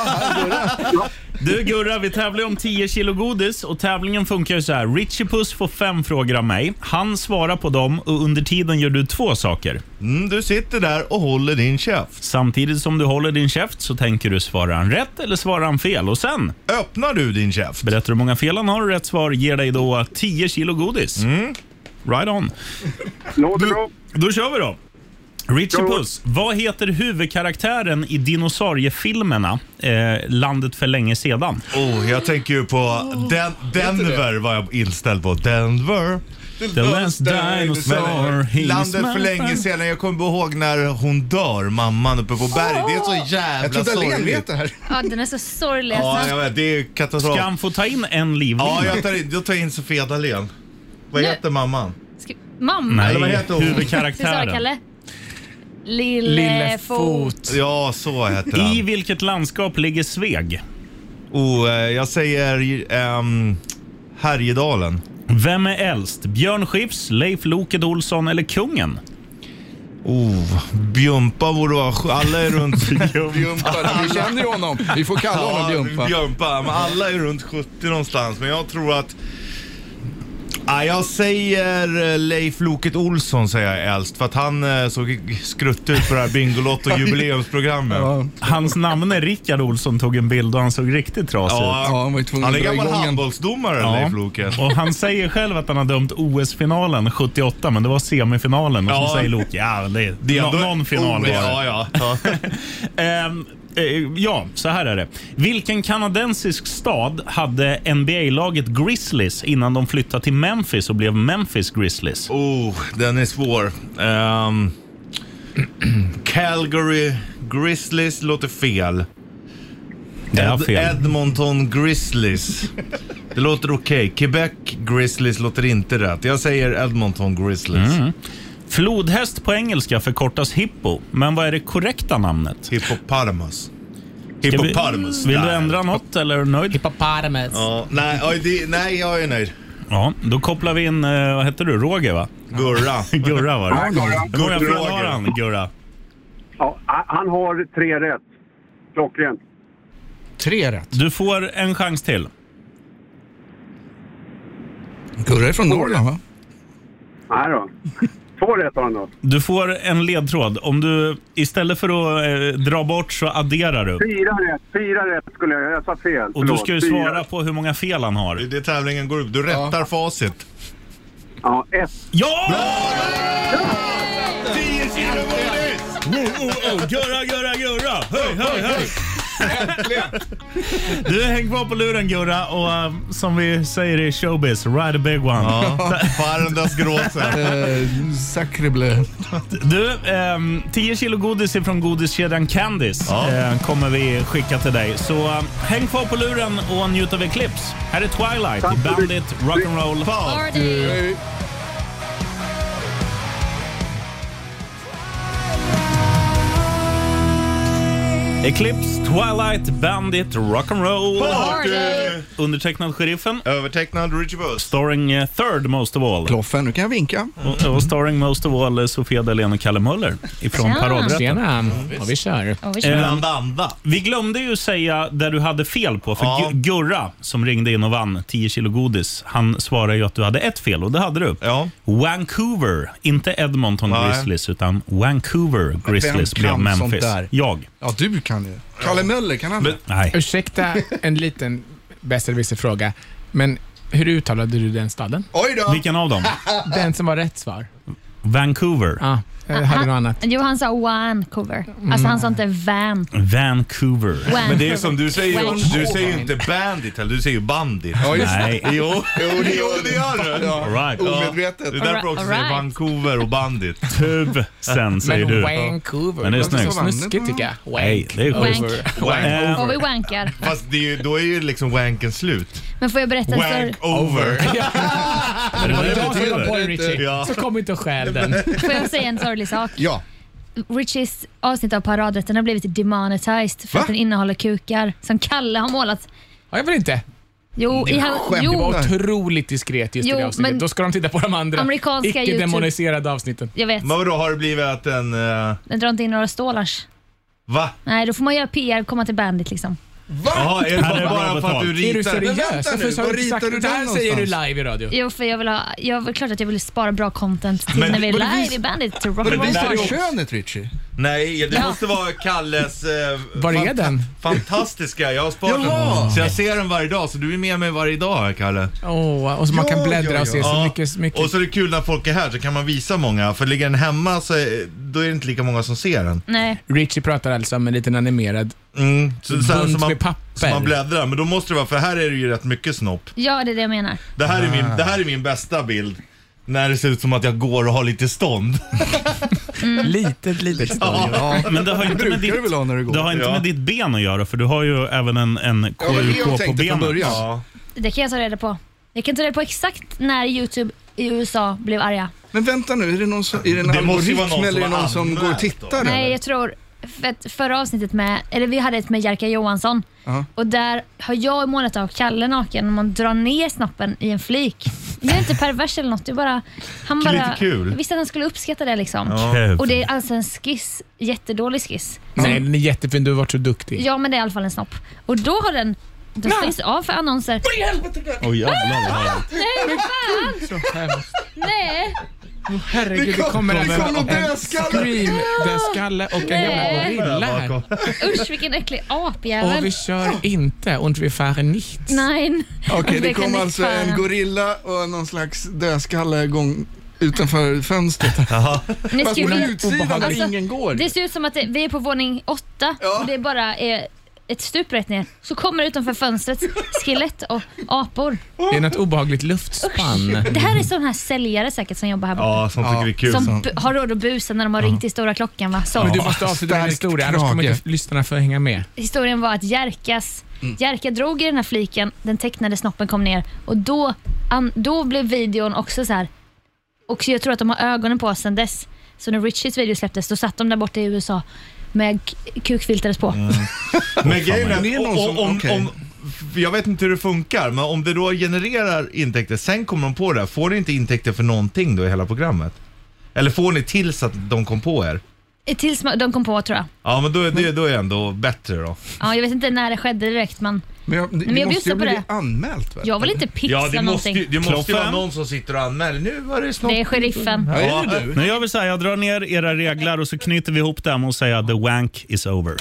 Du Gurra, vi tävlar om 10 kilo godis och tävlingen funkar ju så här. Richie Puss får fem frågor av mig. Han svarar på dem och under tiden gör du två saker. Mm, du sitter där och håller din käft. Samtidigt som du håller din käft så tänker du svarar han rätt eller svarar han fel? Och sen Öppnar du din käft? berättar du hur många fel han har och rätt svar ger dig då 10 kilo godis. Mm. Right on. Låter bra. Då kör vi då. Richie Go. Puss, vad heter huvudkaraktären i dinosauriefilmerna eh, Landet för länge sedan? Oh, jag tänker ju på Den- Denver var jag inställd på. Denver. The last dinosaur, he's Landet för my länge friend. sedan. Jag kommer bara ihåg när hon dör, mamman uppe på berget. Det är så jävla Jag trodde Dahlén vet sorgligt. det här. Ja, den är så sorglig. Ja, alltså. jag vet. Det är katastrof. Ska han få ta in en livlina? Ja, jag tar in, jag tar in Sofia Dalén. Vad Nu- heter mamman? Ska- Mamma. Nej, Eller vad heter hon? Cesar huvudkaraktären. Kalle. Lillefot. Ja, så heter han. I vilket landskap ligger Sveg? Oh, eh, jag säger ehm, Härjedalen. Vem är äldst? Björn Skifs, Leif Loket Olsson eller kungen? Oh, Bjumpa borde vara... sj- Alla är runt... Bjumpa, vi känner ju honom. Vi får kalla honom Bjumpa. Bjumpa. Men alla är runt 70 någonstans, men jag tror att... Ah, jag säger eh, Leif Loket Olsson säger jag äldst för att han eh, såg skrutt ut på det här Bingolotto jubileumsprogrammet. Ja, Hans namn är Rickard Olsson tog en bild och han såg riktigt trasig ut. ja, han var ju tvungen Han är att dra gammal igång en. handbollsdomare Ja. Leif Loket. Och han säger själv att han har dömt OS-finalen 78, men det var semifinalen. Och Ja. så säger Loke, ja, det, Det är nå- ändå- Oh, någon final var det. Ja, ja. ja. Ehm, eh, ja, så här är det. Vilken kanadensisk stad hade NBA-laget Grizzlies innan de flyttade till Memphis och blev Memphis Grizzlies? Oh, den är svår. Ehm, Calgary Grizzlies låter fel. Det är Ed- fel. Edmonton Grizzlies. Det låter okej. Quebec Grizzlies låter inte rätt. Jag säger Edmonton Grizzlies. Mm. Flodhäst på engelska förkortas hippo, men vad är det korrekta namnet? Hippopotamus. Ska vi- Hippopotamus. Vill du Nej. ändra något eller är du nöjd? Hippopotamus. Ja, nej, oj, det, nej, jag är nöjd. Ja, då kopplar vi in, eh, vad heter du, Roger va? Gurra. Gurra var det. Hur många Gurra. fel har han, Gurra? Ja, han har tre rätt. Klockrent. Tre rätt. Du får en chans till. Gurra är från Norrland va? Nej då. Två rätt har han då. Du får en ledtråd. Om du istället för att eh, dra bort så adderar du. Fyra rätt. Fyra rätt skulle jag... Jag sa fel. Och du ska ju Förlåt. Fyra. svara på hur många fel han Det är har. det tävlingen går ut. Du rättar facit. Ja, ett. Ja! 10 kilo godis! Oh, oh, oh. Gurra, gurra, gurra! Höj, höj, höj! Du, häng kvar på luren Gurra och eh, som vi säger i showbiz, ride a big one. Ja, Farendas gråsen. Eh, Sacrebleu. Du, ehm, 10 kilo godis ifrån godiskedjan Candice eh, kommer vi skicka till dig. Så eh, häng kvar på luren och njut av Eclipse. Här är Twilight i Bandit Rock'n'Roll. Party. Eclipse, Twilight, Bandit, Rock'n'Roll. Party! Undertecknad Sheriffen. Övertecknad Richie Buss. Starring eh, Third Most of All. Kloffen, nu kan jag vinka. Och, och starring Most of All eh, Sofia Dalén och Kalle Möller ifrån Tja. Paradrätten. Tjena. Ja, vi kör. Och vi Eh, kör. Bland andra. Vi glömde ju säga där du hade fel på, för Ja. Gu- Gurra som ringde in och vann 10 kilo godis, han svarade ju att du hade ett fel och det hade du. Ja. Vancouver, inte Edmonton Nej. Grizzlies utan Vancouver Grizzlies vem blev kan sånt Memphis. där? Jag. Ja, du kan ju. Kalle Möller, kan han det? Nej. Ursäkta en liten besserwisser-fråga, men hur uttalade du den staden? Oj då! Vilken av dem? eh. Den som var rätt svar? Vancouver. Ja, jag hade något annat. Jo, han sa Vancouver. Alltså han sa inte van. Vancouver. Van. Men det är som du säger, Wow. du säger ju inte bandit heller, du säger ju bandit. Ja, just det. Nej. Jo, jo, det gör du. Ja. All right. Det är Omedvetet. därför också säger Alright. Vancouver och bandit. Tusen säger Men du. Vancouver. Men det är låter snyggt. så Snuskigt tycker jag. Nej, det är Eh, Wank. schysst. Wank. Och vi wankar. Fast det är ju, då är ju liksom wanken slut. Men får jag berätta en större, Wank over. Är det vad det Jag betyder? kom på det, Richie. Ja. Så kom inte och stjäl den. får jag säga en sorglig sak? Ja. Richies avsnitt av Paradrätten har blivit demonetized för Va? att den innehåller kukar som Kalle har målat. Ja, jag vill inte. Jo, i han, skämt. Det jo var otroligt diskret just i Jo, det avsnittet. men- Då ska de titta på de andra Amerikanska YouTube. icke-demoniserade avsnitten. jag vet. Men vadå, har det blivit att en... eh, Den drar inte in några stålars. va? Nej, då får man göra PR, komma till bandit liksom. Jaha, är det Här är bara, bra bara för att betalt. du Är du ritar? seriös? Men vänta nu, Varför sa var du exakt ritar du det här den säger du någonstans? live i radio? Jo, för jag vill ha, jag var klart att jag ville spara bra content till Men- när vi är men det live vis- i bandet till Men det Rock'n'Roll visar Party. ju könet, Richie. Nej, det Ja. måste vara Kalles... eh, Var är fanta- den? Fantastiska, jag har sparat Jaha. den. Så jag ser den varje dag, så du är med mig varje dag här, Kalle. Åh, och så man Ja, kan bläddra ja, och se så Ja. mycket. så mycket. Och så är det kul när folk är här så kan man visa många. För ligger den hemma så är, då är det inte lika många som ser den. Nej, Richie pratar alltså om en liten animerad Mm. Så, så, här, bunt så, man, med papper. så man bläddrar. Men då måste det vara, för här är det ju rätt mycket snopp. ja det är det jag menar. Ah. Det här är min, det här är min bästa bild. när det ser ut som att jag går och har lite stånd. Litet, litet stadion. Men det har ju inte, med ditt, det har inte Ja. med ditt ben att göra, för du har ju även en, en det var det jag KUK på tänkte från benet. början. Det kan jag ta reda på. Jag kan ta reda på exakt när YouTube i USA blev arga. Men vänta nu, är det någon som, är det en Det måste ju vara algoritm någon som eller är det har någon som går och anmält tittar? Nej, eller? jag tror för att förra avsnittet med, eller vi hade ett med Jerka Johansson Ja. och där har jag målat av Kalle naken och man drar ner snoppen i en flik. Det är inte pervers eller något, det är bara... Han Lite bara kul. visste att han skulle uppskatta det liksom. Ja. Kul. Och det är alltså en skiss, jättedålig skiss. Nej, den är jättefin. Du har varit så duktig. Ja, men det är i alla fall en snopp. Och då har den... Då stängs det av för annonser. Oj, jävlar vad härligt. Nej, fan! Så hemskt. Nej! Herregud, det kommer en, en scream-dödskalle och en jävla Nej. gorilla här. Usch vilken äcklig Och apjävel. vi kör inte und wir fahren nicht. Nej. Okej, det kan kom ni alltså fan. en gorilla och någon slags dödskalle gång utanför fönstret. Ni Fast skulle- på utsidan där Alltså, ingen går. Det ser ut som att det, vi är på våning åtta och det är bara är ett stup rätt ner. Så kommer det utanför fönstret skelett och apor. Det är något obehagligt luftspann. Det här är sån här säljare säkert som jobbar här borta. Ja, sånt tycker det är kul. Som bu- har råd att busa när de har ringt i stora klockan. Va? Så. Men du måste avsluta din Starkt historia, annars kommer krage. inte lyssnarna få hänga med. Historien var att Jerkas, Mm. Jerka drog i den här fliken, den tecknade snoppen kom ner och då, an, då blev videon också så här. Och så jag tror att de har ögonen på oss sedan dess. Så när Richies video släpptes, då satt de där borta i USA med k- kukfiltret på. Mm. Men grejen Det är, är om, någon om, som- om, okej. för jag vet inte hur det funkar, men om det då genererar intäkter, sen kommer de på det, här, får ni inte intäkter för någonting då i hela programmet? Eller får ni tills att de kom på er? Eh, Tills ma- de kom på tror jag. Ja, men då är det då är det ändå bättre då. Ja, jag vet inte när det skedde direkt men Men jag, jag men jag måste bjussar ju på bli det. anmält va? jag vill inte pixla Ja, det måste, någonting. ju- det måste ju vara Klockan. någon som sitter och anmäler. Nu var det snart... Mm. Det är sheriffen. Ja, Nu gör vi så här, jag drar ner era reglar och så knyter vi ihop dem och säger the wank is over.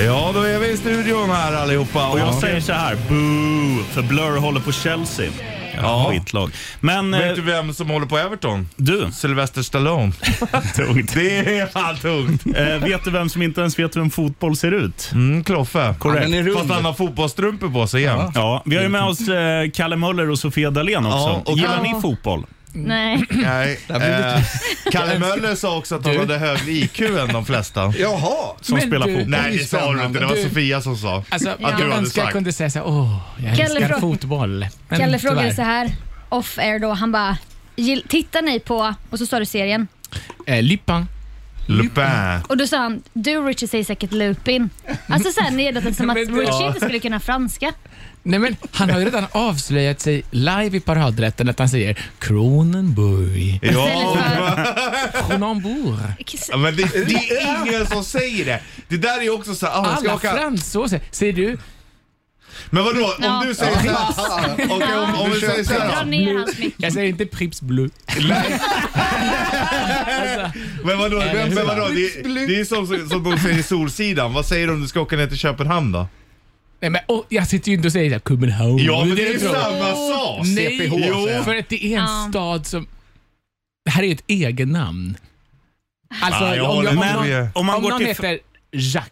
ja, då är vi i studion här allihopa. Och jag Ja. säger så här, boo, för Blur håller på Chelsea. Ja, Ja. skitlag. Men eh, Vet du vem som håller på Everton? du, Sylvester Stallone. tungt. Det är fan tungt. Eh, vet du vem som inte ens vet hur en fotboll ser ut? Mm, Kloffe. Korrekt. Den är rund. Fast han har fotbollsstrumpor på sig igen. Ja, vi har ju med oss eh, Kalle Möller och Sofia Dalén också. Ja, och- Gillar Ja. ni fotboll? Mm, Nej. Nej. Eh, Kalle Möller sa också att han hade högre IQ än de flesta. Jaha! Som Men spelar du- fotboll? Nej, det sa du inte. Det var Du- Sofia som sa. Alltså, Ja. Jag Du hade önskar jag sagt. kunde säga såhär, åh, jag Kalle älskar frå- fotboll. Men Kalle tyvärr. frågade så här off air då, han bara "Gill- Tittar ni på, och så sa du serien, Eh, Lupin. Lupin. och då sa han du Richie säger säkert Lupin. Alltså såhär nedlåtande som att Men det- Richie inte skulle kunna franska. Nej, men han har ju redan avslöjat sig live i paradrätten att han säger Kronenburg. Ja, Kronenburg. men det, det är ingen som säger det. Det där är också så här, ah, ska Alla åka. fransåser. Säger du Men vadå, om Ja. du säger så här. Okej, om, om vi säger så Dra här. då. ner hans mick. Jag säger inte Pripps Blue. Men vadå, men, men vadå det, det är som, som de säger i Solsidan. Vad säger du om du ska åka ner till Köpenhamn då? Nej, men, och jag sitter ju inte och säger så här, Copenhagen. Ja, men det är ju du tror. samma sak. Nej, Jo. för att det är en Ja. stad som... Det här är ju ett eget namn. Alltså, Ja, jag om, håller jag, om, med. någon, Om man om går någon till- heter Jacques,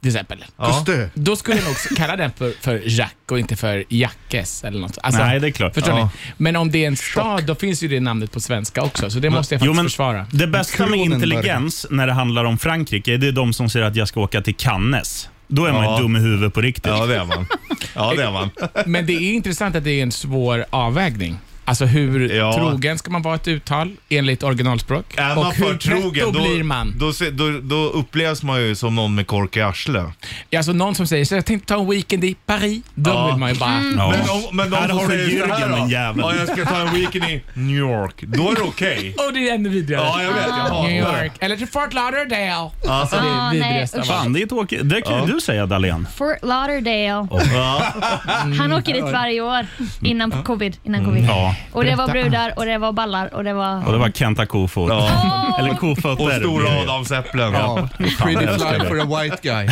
till exempel. Ja. Kostö. Då skulle jag nog också kalla den för, för Jacques och inte för Jackes eller något. Alltså, Nej, det är klart. Förstår Ja. ni? Men om det är en stad, då finns ju det namnet på svenska också, så det måste jag faktiskt försvara. Det bästa med Kronenberg. intelligens när det handlar om Frankrike, det är de som säger att jag ska åka till Cannes. Då är man Ja. ju dum i huvudet på riktigt. Ja, det är man. Ja, det är man. Men det är intressant att det är en svår avvägning. Alltså hur Ja. trogen ska man vara ett uttal enligt originalspråk? Är och man hur för trogen, pretto då, blir man? Då, se- då, då upplevs man ju som någon med kork i arslet. Ja, Alltså någon som säger så jag tänkte ta en weekend i Paris. Då Ja. vill man ju bara... Mm. Ja. Men, om, men de Här som har du säger så här Jürgen, då, den jäveln. Ja, jag ska ta en weekend i New York. Då är det okej. Åh, det är ännu vidrigare. Ja, jag vet. Jag New hatar det. York. Eller till Fort Lauderdale. Alltså, Det Ah, är nej, vidrigast av usch. allt. Fan, det, är ett åke- det kan ju du säga Dahlén. Fort Lauderdale. Mm. Han åker dit varje år innan covid. Innan covid. Ja. Och det var Berätta brudar och det var ballar och det var... Och det var Kenta Kofot. Ja. Eller Kofötter. och stora Adams äpplen. Ja. Ja, pretty fly for a white guy.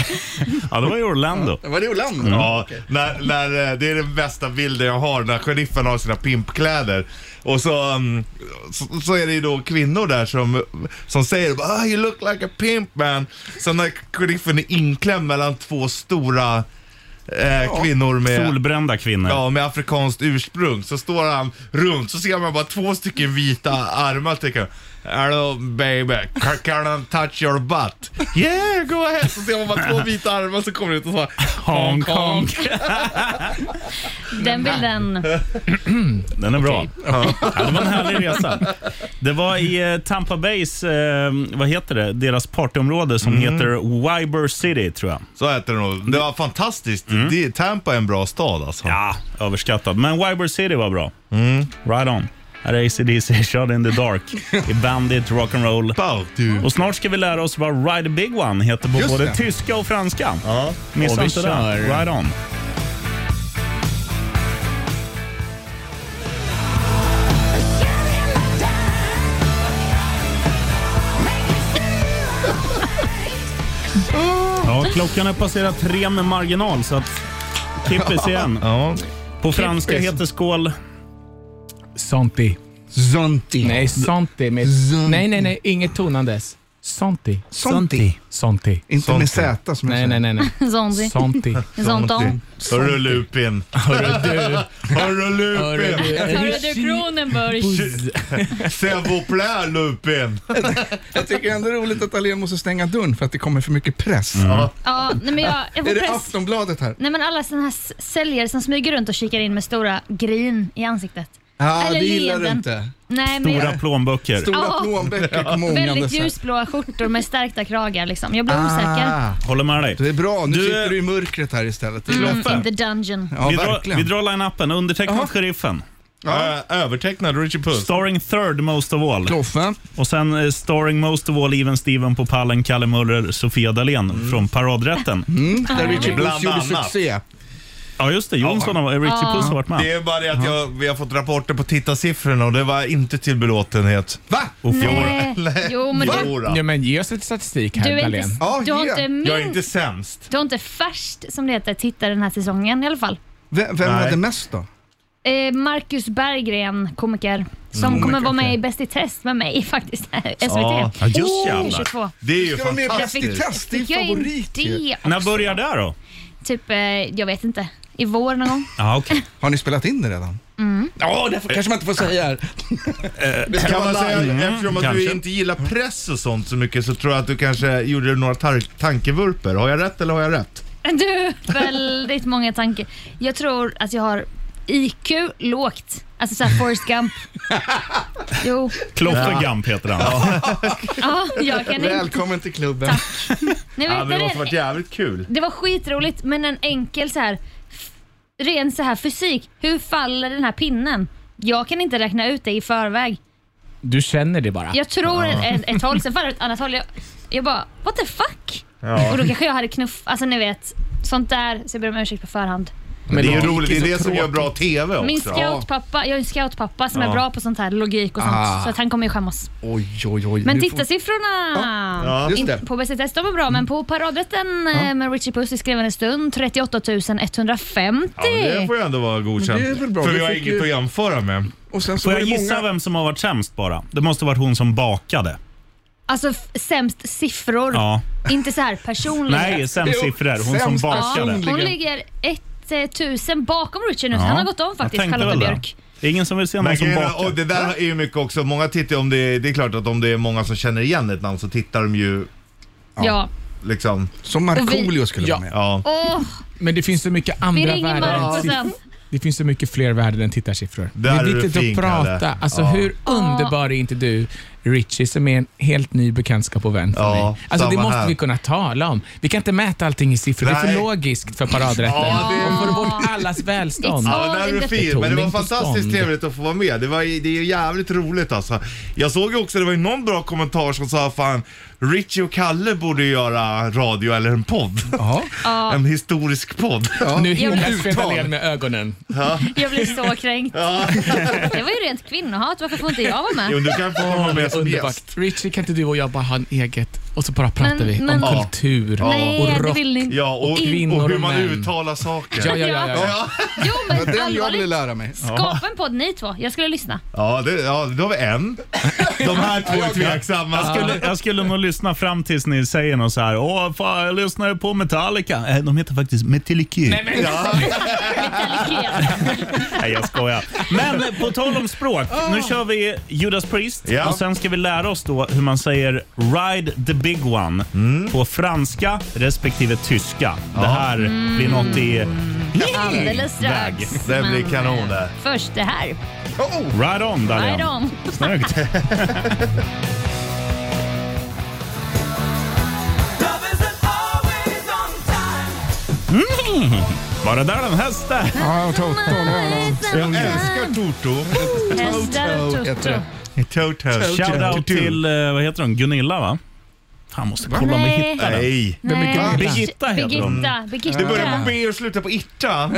Ja, det var i Orlando. Var det Orlando? när, när, eh, det är den bästa bilden jag har när sheriffen har sina pimpkläder. Och så, um, så, så är det ju då kvinnor där som, som säger ah, “You look like a pimp man”. Sen när sheriffen är inklämd mellan två stora eh, kvinnor med... Solbrända kvinnor. Ja, med afrikanskt ursprung. Så står han runt, så ser man bara två stycken vita armar tycker jag. Hello baby, Ca- can I touch your butt? Yeah, go ahead! Så ser man bara två vita armar som kommer ut och så här, Honk, honk. Den bilden. Den är bra. Ja. det var en härlig resa. Det var i eh, Tampa Bays, eh, vad heter det, deras partyområde som heter Wiber City tror jag. Så heter det nog. Det var fantastiskt. Det, Tampa är en bra stad alltså. Ja, överskattad. Men Wiber City var bra. Mm. Right on. Här är ACDC, Shot in the Dark i Bandit Rock'n'Roll. Bow, du. Och snart ska vi lära oss vad Ride a Big One heter på Just både det. tyska och franska. Ja. Missa Och vi inte det. kör. Right on. Ja, klockan har passerat tre med marginal, så att kippis igen. Ja. På franska heter skål... Santi. Zonti. Nej, Santi. Med, Zonti. nej, nej, nej. Inget tonandes. Santi. Zonti. Santi. Inte med Z som Nej, jag nej, säger. nej. nej. Zondi. Santi. Zonton. Hörru Lupin. Hörru du. Hörru Hörru Lupin. du, Hörru du Kronenburg. C'est vous plaît Lupin. Jag tycker ändå det är roligt att Ahlén måste stänga dörren för att det kommer för mycket press. Ja, nej men jag, jag får Är det press. Aftonbladet här? Nej men alla såna här s- säljare som smyger runt och kikar in med stora grin i ansiktet. Ja, Eller det gillar du leenden. inte. Nej, men Stora jag, plånböcker. Stora Ja. plånböcker kommer väldigt ångandes. här. ljusblåa skjortor med stärkta kragar liksom. Jag blir osäker. Ah, Håller med dig. det är bra, nu Du, sitter du i mörkret här istället. Det är lätt. Mm, in the dungeon. Ja, vi, drar, verkligen. vi drar line-upen. Undertecknad Jaha. Sheriffen. Ja. Eh, Övertecknad Richard Puss. Starring third most of all. Kloffe. Och sen eh, starring most of all Even Steven på pallen, Kalle Möller, Sofia Dalén från Paradrätten. Mm, där Richard Puss Bland gjorde annat. succé. Ja, just det. Jonsson och Richie Ja. Puss har varit med. Det är bara det att jag, vi har fått rapporter på tittarsiffrorna och det var inte till belåtenhet. Va? Och fjol. Nej. Jo, men du, Jodå. Ja, men ge oss lite statistik här, du, är Dahlén. inte, Ja, du har ge. inte Jag är inte minst, sämst. du har inte färskt som det heter, titta den här säsongen i alla fall. Vem, vem Nej. hade mest då? Eh, Marcus Berggren, komiker, som Mm. kommer vara med i Bäst i test med mig faktiskt, SVT. Ja, Ja, just Oh, jävlar. 22. Det är ju Ska de med på Jag fick, Bäst i fantastiskt. test? Det är fick jag in favorit ju. det När också? börjar det här då? Typ, eh, jag vet inte, i vår någon gång. Ja, okej. Har ni spelat in det redan? Ja, därför kanske man inte får säga här. Det ska Kan man vara säga, live. eftersom att kanske. du inte gillar press och sånt så mycket så tror jag att du kanske gjorde några tar- tankevurper. Har jag rätt eller har jag rätt? Du, väldigt många tankar. Jag tror att jag har IQ lågt. Alltså såhär Forrest Gump. Jo, Kloffe Gump heter han. ja, jag kan inte. Välkommen till klubben. Nej, Ja, men det vet måste du, varit jävligt kul. det var skitroligt men en enkel så här f- ren så här fysik. Hur faller den här pinnen? Jag kan inte räkna ut det i förväg. Du känner det bara. Jag tror ett, ett håll, sen faller det åt ett annat håll. Jag, jag bara, what the fuck? Och då kanske jag hade knuff, alltså ni vet. Sånt där, så jag ber om ursäkt på förhand. Men Det är ju logik roligt, det så är det som tråkigt. gör bra TV också. Min scoutpappa, jag är en scoutpappa som är bra på sånt här, logik och sånt. Så att han kommer ju skämmas. Oj, oj, oj. Men Nu får- tittarsiffrorna! Ja, just In- det. På Bäst i test, de är bra, men på paradrätten eh, med Richie Puss i skrivande stund, 38 150. Ja, det får ju ändå vara godkänt. Men det är väl bra, För vi vi har fick inget ju- att jämföra med. Och sen så Får var jag det gissa många... vem som har varit sämst bara? Det måste ha varit hon som bakade. Alltså f- sämst siffror, Ja. inte så här personligen. Nej, sämst Jo, siffror. Hon som sämst ja, bakade. hon ligger 1000 bakom Richie nu, så Ja. han har gått om Jag faktiskt, tänkte Charlotte väl det. Björk. Det är ingen som vill se någon Men som grejen är- och bakar. det där är ju mycket också, många tittar ju om det, det är klart att om det är många som känner igen ett namn så tittar de ju Ja. liksom, Som Markoolio skulle vara med. ja. Åh, Men det finns så mycket vi andra ringer värden. Marco än siffror. sen. Det finns så mycket fler värden än tittarsiffror. Där är det du är viktigt fin, att prata. Kalle. Alltså, Ja. Hur underbar är inte du, Richie, som är en helt ny bekantskap och vän för Ja, mig? Alltså, det samma måste här. vi kunna tala om. Vi kan inte mäta allting i siffror. Det är Nej. för logiskt för paradrätten. Ja, det- Och får bort allas välstånd. It's Ja, Ja, där det är du är fin. Men det var betoning på fantastiskt stånd. trevligt att få vara med. Det, var, det är ju jävligt roligt alltså. Jag såg ju också, det var ju någon bra kommentar som sa fan, Richie och Kalle borde göra radio eller en podd. en historisk podd. Nu himlar Jag- Fred Dahlén med ögonen. Jag blir så kränkt. Det var ju rent kvinnohat, varför får inte jag vara med? Jo, du kan få vara med med som Underbart. gäst. Richie, kan inte du och jag bara ha en eget och så bara pratar Men- vi men- om Ja. kultur Nej, och det rock vill ni inte. Ja, och, och kvinnor och hur man och män. uttalar saker. Ja, ja, ja, ja, ja. Jo men Det är det jag ville allvarligt. lära mig. Skapa en podd ni två. Jag skulle lyssna. Ja, det, ja, då har vi en. De här två är tveksamma. Jag skulle, jag skulle nog lyssna fram tills ni säger något så här. Åh, fan, jag lyssnade på Metallica. Nej, de heter faktiskt Metallica. Nej, jag skojar. Men eh, på tal om språk. Nu kör vi Judas Priest Ja. och sen ska vi lära oss då hur man säger Ride the Big One på franska respektive tyska. Det här blir något i Mm. Alldeles väg. strax. Det blir Men, kanon det. eh, Först det här. Right on, Darian. Right on. Snyggt. Mm. Bara där den hästen. Ja, jag tar åt Jag älskar Toto. Hästar och heter Toto. det. Toto. Shoutout till, eh, vad heter hon, Gunilla va? Fan, måste kolla om vi Nej. hittar den. Nej. Nej, Birgitta heter hon. Birgitta. Birgitta. Det börjar på B och slutar på Itta.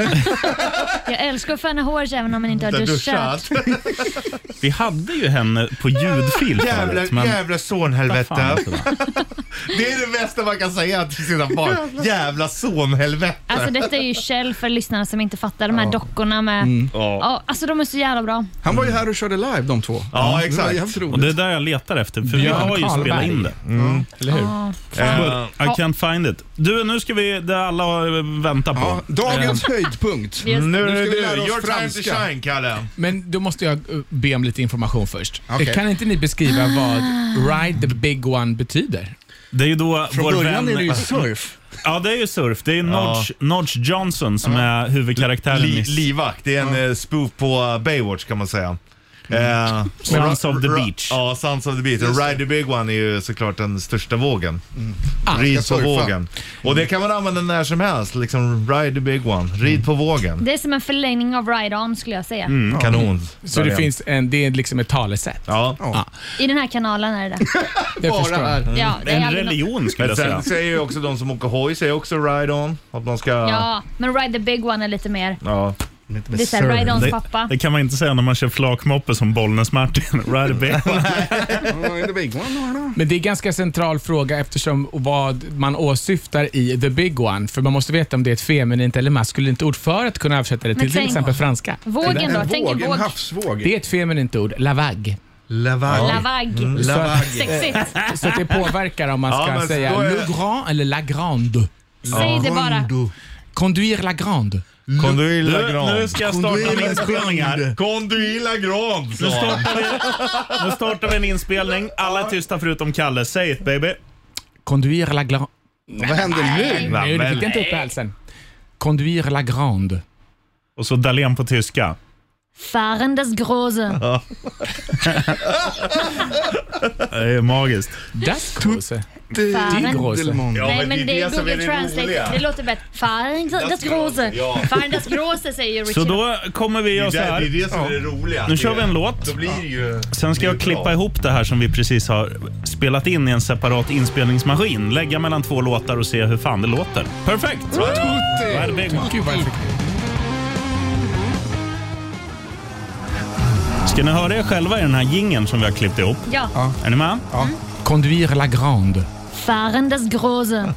Jag älskar att färna hår även om man inte har Där duschat. duschat. Vi hade ju henne på ljudfil Jävla, förut, men... jävla vad fan alltså. sonhelvete. heter den? Det är det bästa man kan säga till sina barn. Jävla sonhelvete. Alltså detta är ju Kjell för lyssnarna som inte fattar. De här dockorna med... Ja, alltså de är så jävla bra. Han var ju här och körde live de två. Ja, Det var exakt. jävligt Och roligt. det är där jag letar efter, för vi Björn har ju spelat Karlberg. in det. Eller hur? Ja. Eh, I can't find it. Du, nu ska vi, det alla har väntat på. Ja, dagens höjdpunkt. Just- Eh, Nu Nu är ska vi det lära du. oss Your time to franska. shine, Kalle. Men då måste jag eh, be om lite information först. Eh, Okej. Kan inte ni beskriva Ah. vad Ride the Big One betyder? Det är ju då Från vår början vän... är det ju surf. Ja, det är ju surf. Det är Nodge, Nodge Johnson som är huvudkaraktären Li, i livvakt. Det är en eh, spoof på eh, Baywatch kan man säga. Eh, Mm. Sons of the ra- Beach. Ja, Sons of the Beach. Och Ride the Big One är ju såklart den största vågen. Ah, Rid på surfa. vågen. Och det kan man använda när som helst. Liksom Ride the Big One. Mm. Rid på vågen. Det är som en förlängning av Ride On skulle jag säga. Mm, kanon. Så det, finns en, det är liksom ett talesätt. Ja. I den här kanalen är det det. Jag förstår. Ja, det är En aldrig nå- religion skulle Men jag säga. sen säger ju också de som åker hoj, säger också Ride On. Att man ska... Ja, men Ride the Big One är lite mer... ja. Det är såhär Ride Ons Det, pappa. det kan man inte säga när man kör flakmoppe som Bollnäs-Martin. Ride a bit. Ja, the big one, då. Men det är en ganska central fråga eftersom vad man åsyftar i the big one. För man måste veta om det är ett feminint eller maskulint ord för att kunna översätta det till till tänk- exempel franska. Vågen då, En tänk våg, en en våg. havsvåg. Det är ett feminint ord, lavag. Lavage. Lavag. Lavage. Sexigt. Så att det påverkar om man Ja, ska men säga då är- le grand eller la grande. Säg det bara. Conduire la grande. Conduit Du, Grand. nu ska jag starta en inspelning här. Conduit Grand, sa han. Nu startar vi en inspelning. Alla är tysta förutom Kalle. Säg det baby. Conduire la grande. Vad händer nu? Nej, det fick jag men- inte upp i halsen. Conduire la grande. Och så Dahlén på tyska. Färendes Große. Det är magiskt. Das große. Die Fären. große. Dillemon. Nej men det är Google Translate. Det låter bättre. Färendes Große. Ja. Färendes Große säger ju Så Richard. då kommer vi göra så Det är här. det som är det roliga. Nu kör vi en låt. Då blir det ju... Sen ska det är jag klippa bra. ihop det här som vi precis har spelat in i en separat inspelningsmaskin. Lägga mellan två låtar och se hur fan det låter. Perfekt! Värd Bigman. Gud vad jag fick Ska ni höra er själva i den här gingen som vi har klippt ihop? Ja. Är ni med? Conduire la grande. Färendes Große.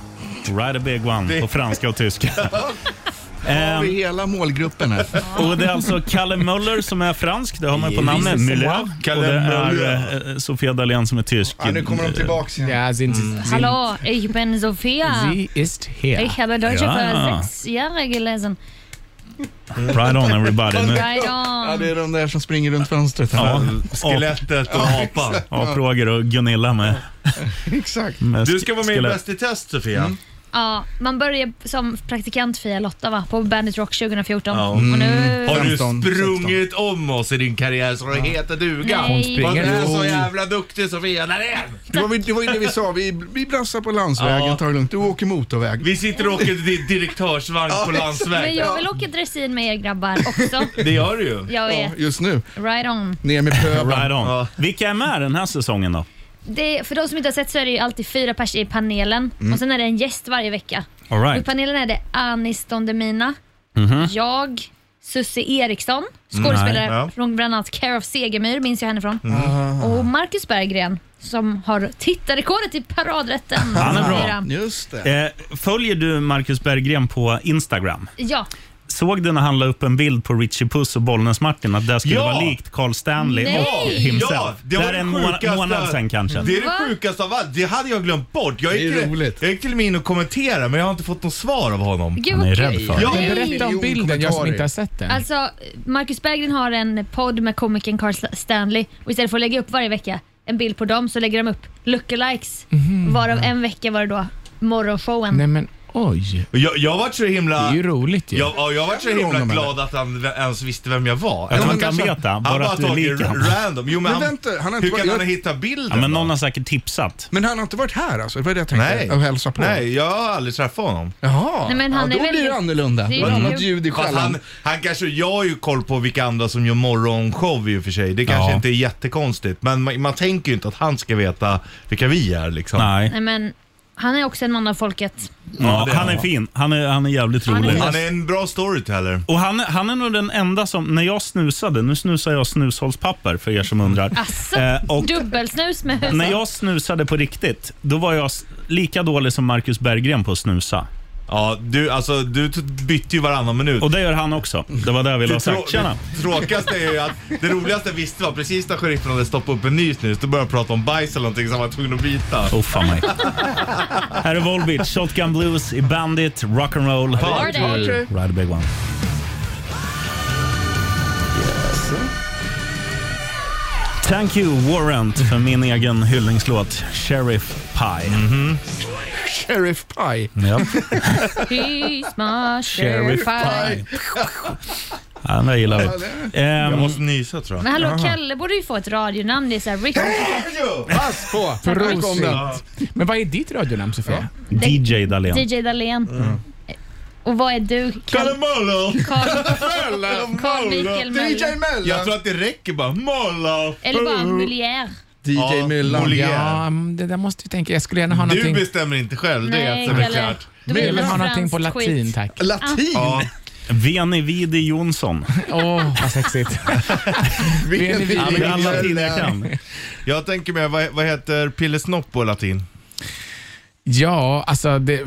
Ride a big one på franska och tyska. Har Ehm, vi hela målgruppen här? och Det är alltså Kalle Möller som är fransk, det har man ju på namnet. Müller. Kalle Och det är Möller. eh, Sofia Dalén som är tysk. Ja, nu kommer de tillbaks igen. Ja, sind, Mm. sind, Hallå, ich bin Sofia. sie ist her. Ich habe Deutsche Ja. für sechs Jahre gelesen. Ride on everybody. Nu. Right Ja, det on. är de där som springer runt fönstret. Ja, Skelettet och apan. Apråger och Gunilla med, Exakt. med Du ska vara med i skelett. Bäst i test, Sofia. Ja, man började som praktikant Fia Lotta va, på Bandit Rock 2014. Ja. Mm. Och nu... Har du 15, sprungit om oss i din karriär så det heter duga? Nej. Hon Vad du springer. är så jävla duktig Sofia Dalén! Det var, vi- det var ju det vi sa, vi, vi brassar på landsvägen, Ja. tar det lugnt. Du åker motorväg. Vi sitter och åker i din direktörsvagn på Men landsväg. jag vill åka dressin med er grabbar också. Det gör du ju. Jag Ja, vet. just nu. Right on. Ner med pöbeln. Ride on. Ja. Vilka är med den här säsongen då? Det, för de som inte har sett så är det ju alltid fyra pers i panelen och sen är det en gäst varje vecka. All Och I right. panelen är det Anis Don Demina, jag, Susie Eriksson, skådespelare Nej, ja. från bland annat Care of Segemyhr, minns jag henne från. Mm. Och Marcus Berggren som har tittarrekordet i paradrätten. Han är bra. Fyra. Just Eh, följer du Marcus Berggren på Instagram? Ja. Såg du när han la upp en bild på Richie Puss och Bollnäs-Martin att det skulle Ja! vara likt Carl Stanley och Nej! himself? Ja, det var Där det en måna- sjukaste- månad sen kanske. Det är det sjukaste av allt. Det hade jag glömt bort. Jag gick, till, jag gick till och med in och kommenterade men jag har inte fått något svar av honom. Gud, Han är okej. rädd för ja. det. Berätta om bilden, jag som inte har sett den. Alltså, Marcus Berggren har en podd med komikern Carl Sta- Stanley och istället för att lägga upp varje vecka en bild på dem så lägger de upp lookalikes. Varav en vecka var det då morgonshowen. Nej men oj. Jag, jag var så himla... Det är ju roligt ju. Jag, ja, jag var så himla glad att han ens visste vem jag var. Jag tror Eller inte han kanske- vet det, Han bara bara att du är lik tagit honom. random. Jo, men, Men han, vänta, han har inte hur kan varit- han ha jag- hittat bilden? Ja, men någon har säkert tipsat. Men han har inte varit här alltså? Det var det jag tänkte. Nej. Och hälsa på. Nej, jag har aldrig träffat honom. Jaha, Nej, men han ja, är då väldigt- blir det annorlunda. Det är Det var ju- annat ljud i Fast skällan. Han, han kanske, jag har ju koll på vilka andra som gör morgonshow i och för sig. Det kanske Ja. inte är jättekonstigt. Men man, man tänker ju inte att han ska veta vilka vi är liksom. Nej, men han är också en man av folket. Ja, Ja, det är han är han. fin. Han är, han är jävligt Han är rolig. bäst. Han är en bra storyteller. Och han, han är nog den enda som, när jag snusade, nu snusar jag snushållspapper för er som undrar. Asså, Eh, och dubbelsnus med Alltså? när huvudet. jag snusade på riktigt, då var jag s- lika dålig som Marcus Berggren på att snusa. Ja, du, alltså, du t- bytte ju varannan minut. Och det gör han också. Det var det jag ville ha Det sagt. Tjena! trå- det tråkigaste är ju att det roligaste jag visste var precis när sheriffen hade stoppat upp en ny snus, då började han prata om bajs eller någonting så han var tvungen att byta. Oh, fan mig. Här är Volbeat, Shotgun Blues i Bandit, Rock'n'Roll. Party. Party. Ride a big one. Thank you Warrant för min egen hyllningslåt Sheriff Pie. Mhm. Mm-hmm. Sheriff Pie. Ja. He's my Sheriff sheriff Pie. Ja, den där gillar Ehm, vi. Ja, det Jag måste nysa tror jag. Men hallå, Kalle borde ju få ett radionamn. Det är såhär Rick... Pass på! Prosit. Men vad är ditt radionamn Sofia? DJ Dahlén. DJ Dahlén. Mm. Och vad är du? Kalle Möller! Karl Karl Mikael Möller. Jag tror att det räcker bara. Möller! Eller bara Mulier. DJ Ja, Myllan. Molière. Ja, men det där måste vi tänka. Jag skulle gärna ha Du någonting... bestämmer inte själv, det är Nej, så väl Kalle. klart. Du vill Jag vill ha ha någonting franskt på latin skit. tack. Latin? Ja. Ja. Veni Vidi Jonsson. Åh, vad sexigt. Veni Vidi. Ja, men det är alla latin jag kan. Jag tänker mig, vad, vad heter pillesnopp på latin? Ja, alltså det...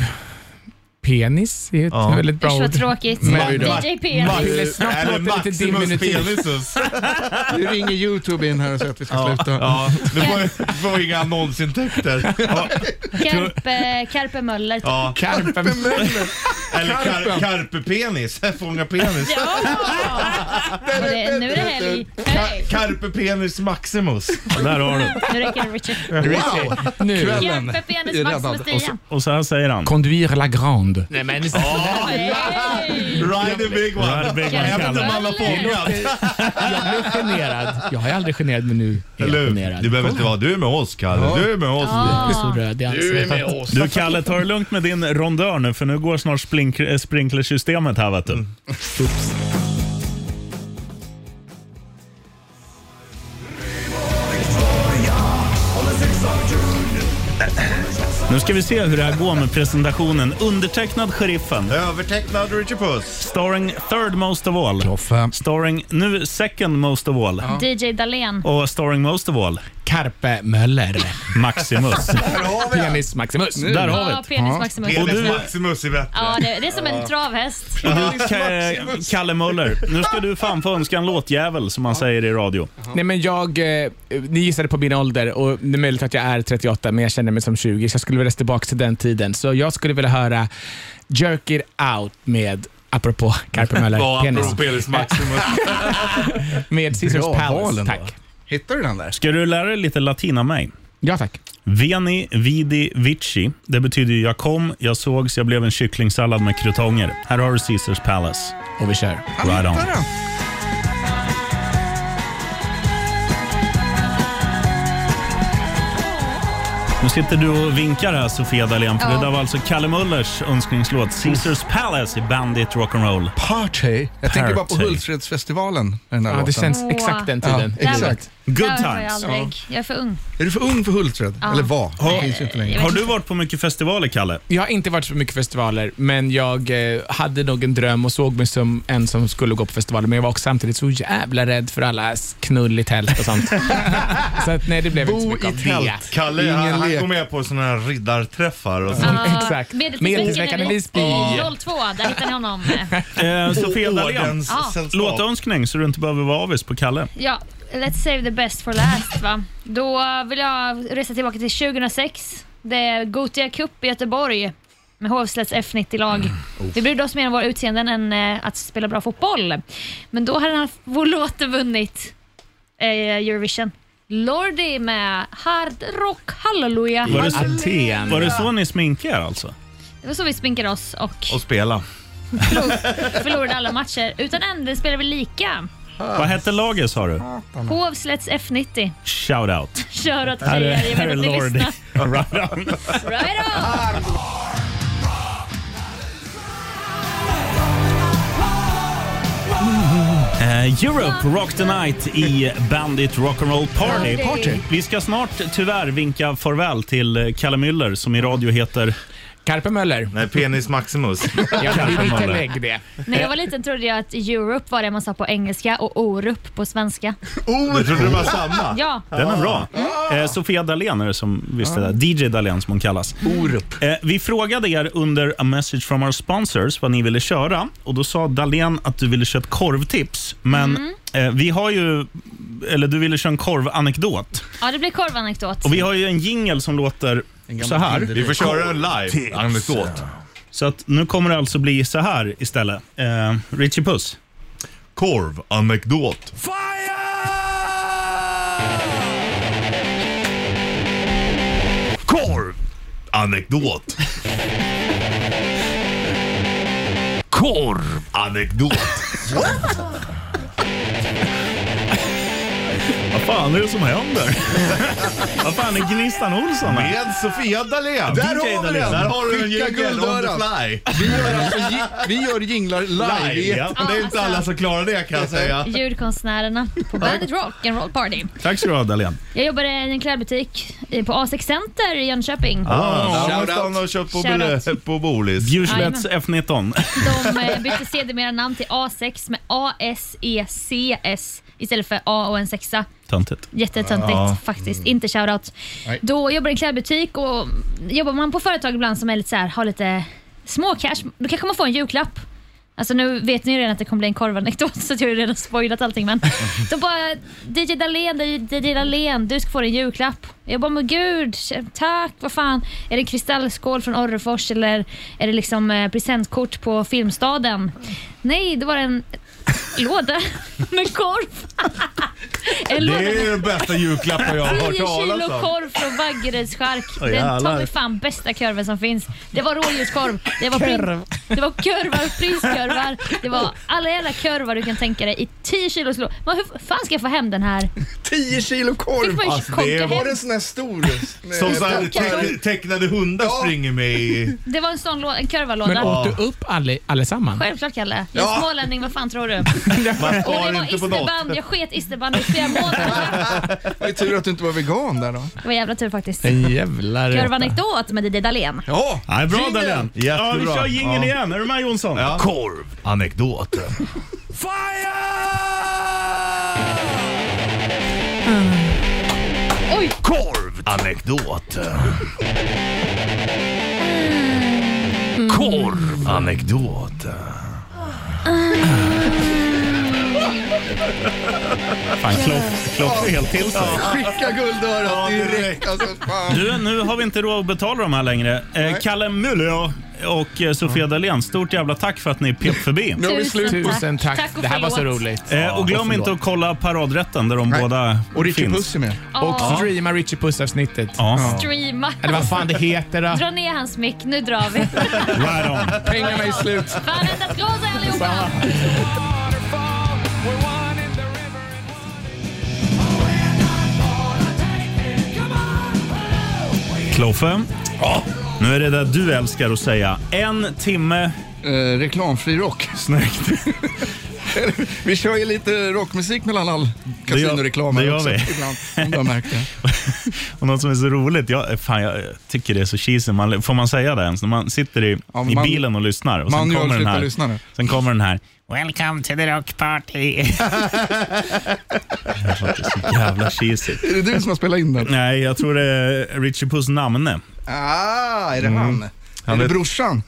Penis är ju ett Ja. väldigt bra Usch vad ord. tråkigt. Men- DJ Max- Penis. Snart låter det lite diminutivt. Nu ringer Youtube in här och säger att vi ska Ja, sluta. ja. Du får, du får inga annonsintäkter. Ja, Karpe, Karpe Möller. ja. Karpen. Eller kar, karpepenis, fånga penis. Ja! Och det, nu är det helg. Hej. Karpepenis maximus. Där har du. Nu räcker det Richard. Wow! Nu. Kvällen Karpe Penis är Max med räddad. Och så- Stian. Och så här säger han. Conduire la grande. Nej, men... Hej. Ride the big one. Ride the big one, Även om man har fångat. Jag blev generad. Jag är aldrig generad, men nu är Eller jag hur? generad. Du behöver inte vara, du är med oss Kalle. Du är med oss. Jag är alltså- så röd i ansiktet. Du Kalle, ta det lugnt med din rondör nu för nu går snart splink- eh, sprinklersystemet här vet du. Mm. Oops. Nu ska vi se hur det här går med presentationen. Undertecknad Sheriffen. Övertecknad Richard Puss. Starring third most of all. Kloffe. Starring nu second most of all. DJ Dahlén. Och starring most of all, Karpe Möller. Maximus. Penis Maximus. Där har vi Ja, det. Penis Maximus. Och du- Maximus är bättre. Ja, det, det är som en travhäst. Ka- Kalle Möller, nu ska du fan få önska en låtjävel som man säger i radio. Nej men jag, eh, ni gissade på min ålder och det är möjligt att jag är 38 men jag känner mig som 20 så jag skulle vilja resa tillbaka till den tiden. Så jag skulle vilja höra Jerk It Out med, apropå Carpe Ja, Möller, penis, apropå penis maximus. med Caesars Bra val Palace. ändå. Tack. Hittar du den där? Ska du lära dig lite latin av mig? Ja tack. Veni, vidi, vici. Det betyder ju jag kom, jag sågs, jag blev en kycklingsallad med krutonger. Här har du Caesars Palace. Och vi kör. Right on. Hittar den? Nu sitter du och vinkar här Sofia Dalén, för Ja. det där var alltså Kalle Möllers önskningslåt Caesars Palace i Bandit Rock'n'Roll. Party? Jag tänker bara på Party. Hultsfredsfestivalen. med Den här Ja, det låten. känns exakt den tiden Ja, i exakt. livet. Good Där var jag times. aldrig. Jag är för ung. Är du för ung för Hultsfred? Ja. Eller var? Det Har, finns ju inte längre. Jag vet har du inte. varit på mycket festivaler, Kalle? Jag har inte varit på mycket festivaler, men jag eh, hade nog en dröm och såg mig som en som skulle gå på festivaler, men jag var också samtidigt så jävla rädd för alla s- knull i tält och sånt. så att, nej, det blev inte så mycket av det. Kalle, han, Ingen han lek. går med på sådana här riddarträffar och sånt. Ja, Exakt. Medeltidsveckan Medeltidsveckan i 02, Visby. där hittar ni honom. Eh, Sofia Dalén, Ordens Ja. sällskap. låtönskning så du inte behöver vara avis på Kalle. Ja, let's save the best for last va. Då vill jag resa tillbaka till 2006. Det är Gothia Cup i Göteborg med Hovslätts F90-lag. Mm, oh. Vi brydde oss mer om våra utseenden än eh, att spela bra fotboll. Men då hade han, vår låt vunnit eh, Eurovision. Lordi med Hard Rock Hallelujah. Var det, Halleluja. så, var det så ni sminkade er alltså? Det var så vi sminkade oss och Och spela. förlorade alla matcher. Utan änden spelade vi lika. Vad hette laget sa du? Hovslätts F90. Shout out. Kör åt Här er, är, jag här vet är att ni Lordi. lyssnar. Right on. Right on! Eh, Europe Rock the Night i Bandit Rock'n'Roll Party. Party. Vi ska snart tyvärr vinka farväl till eh, Kalle Müller som i radio heter... Carpe Möller. Nej, Penis Maximus. inte lägg det. När jag var liten trodde jag att Europe var det man sa på engelska och Orup på svenska. Du trodde det var samma? Ja. Den är bra. Ah. Eh, Sofia Dalén är det som visste det. där. DJ Dalén som hon kallas. Orup. Eh, vi frågade er under A message from our sponsors vad ni ville köra och då sa Dalén att du ville köra ett korvtips. Men eh, vi har ju... Eller du ville köra en korvanekdot. Ja, det blir korvanekdot. Och vi har ju en jingle som låter så här. Vi får köra en live anekdot. Så att nu kommer det alltså bli så här istället. Eh, Richie Puss. Korvanekdot. Korv! Anekdot. Korv! Anekdot. Vad fan är det som händer? Vad fan är Gnistan Olsson? här? Med Sofia Dalén. Där har vi den. Där har du en Skicka jingel on the guldörat. fly. Vi gör, alltså, gi- vi gör jinglar live. i Live, ja. etern. Det är inte alla som klarar det kan jag säga. Ljudkonstnärerna på Bandit Rock and Roll Party. Tack ska du ha Dahlén. Jag jobbade i en klädbutik eh, på A6 Center i Jönköping. Ah, Shout Shout out. och köpt på, Shout Bole- på Bolis. Bjurslets F19. De eh, bytte sedermera namn till A6 med A-S-E-C-S istället för A och en sexa. Töntigt. Jättetöntigt Ja. faktiskt. Inte shoutout. Nej. Då jobbar jag i en klädbutik och jobbar man på företag ibland som är lite så här, har lite små cash, då kanske man får en julklapp. Alltså nu vet ni ju redan att det kommer bli en korvanekdot så att jag har ju redan spoilat allting men. De bara DJ Dahlén, DJ Dahlén, du ska få din julklapp. Jag bara men gud, tack, vad fan. Är det en kristallskål från Orrefors eller är det liksom eh, presentkort på Filmstaden? Nej, det var en låda med korv. en låda Det med är den bästa julklappen jag har 10 hört kilo talas om. korv från Vaggeryds chark. Åh, Den tar jävlar. mig fan bästa korven som finns. Det var rådjurskorv, det var, prin- det var kurvar, prinskorvar, det var alla jävla korvar du kan tänka dig i 10 kilos låda. Men hur fan ska jag få hem den här? 10 kilo Fick korv. man ju Alltså, det konka Var hem. det en sån här stor? Som med- så här, teck- tecknade hundar springer med i... Det var en sån lå- en Men kurvalåda. åt du upp alle, allesammans? Självklart Kalle. Jag är Ja. smålänning, vad fan tror du? Man Och det sparar var inte på något. isterband, jag sket isterband i flera månader. Det är tur att du inte var vegan där då. Det var jävla tur faktiskt. Jävlar. Kurvanekdot med Didde Dahlén. Ja, Nej, bra Dahlén. Jättebra. Ja, vi kör jingeln Ja. igen. Är du med Jonsson? Ja. Korv. Anekdot. Oj! Korv. Anekdot. Korv. Anekdot. Fan, Klopp- Klopp får helt till sig. Skicka guldörat direkt. Alltså, fan. Du, nu har vi inte råd att betala de här längre. Eh, Kalle Müller och eh, Sofia Dalén, stort jävla tack för att ni pep förbi. Nu har vi slut på... Tusen tack. Tack och det här var så förlåt. roligt. Eh, och glöm inte att kolla paradrätten där de båda Och Richie finns. Puss är med. Och Åh, streama Richie Puss-avsnittet. Ja. Streama. Eller vad fan det heter då. Dra ner hans mick, nu drar vi. Right on. Pengarna är slut. Fan, endast glas allihopa! Kloffe, nu är det där du älskar att säga. En timme... Eh, reklamfri rock. Snyggt. Vi kör ju lite rockmusik mellan all kasinoreklam det här gör också vi. ibland, om du har märkt det. Och något som är så roligt, jag, fan, jag tycker det är så cheesy. Man, får man säga det ens? När man sitter i, men i man- bilen och lyssnar. Och man sen gör kommer den slutar här. lyssna nu. Sen kommer den här. Welcome to the rock party. Det låter så jävla cheesy. Är det du som har spelat in den? Nej, jag tror det är Richie Puss namne. Ah, är det Mm. han? Han är det är- brorsan?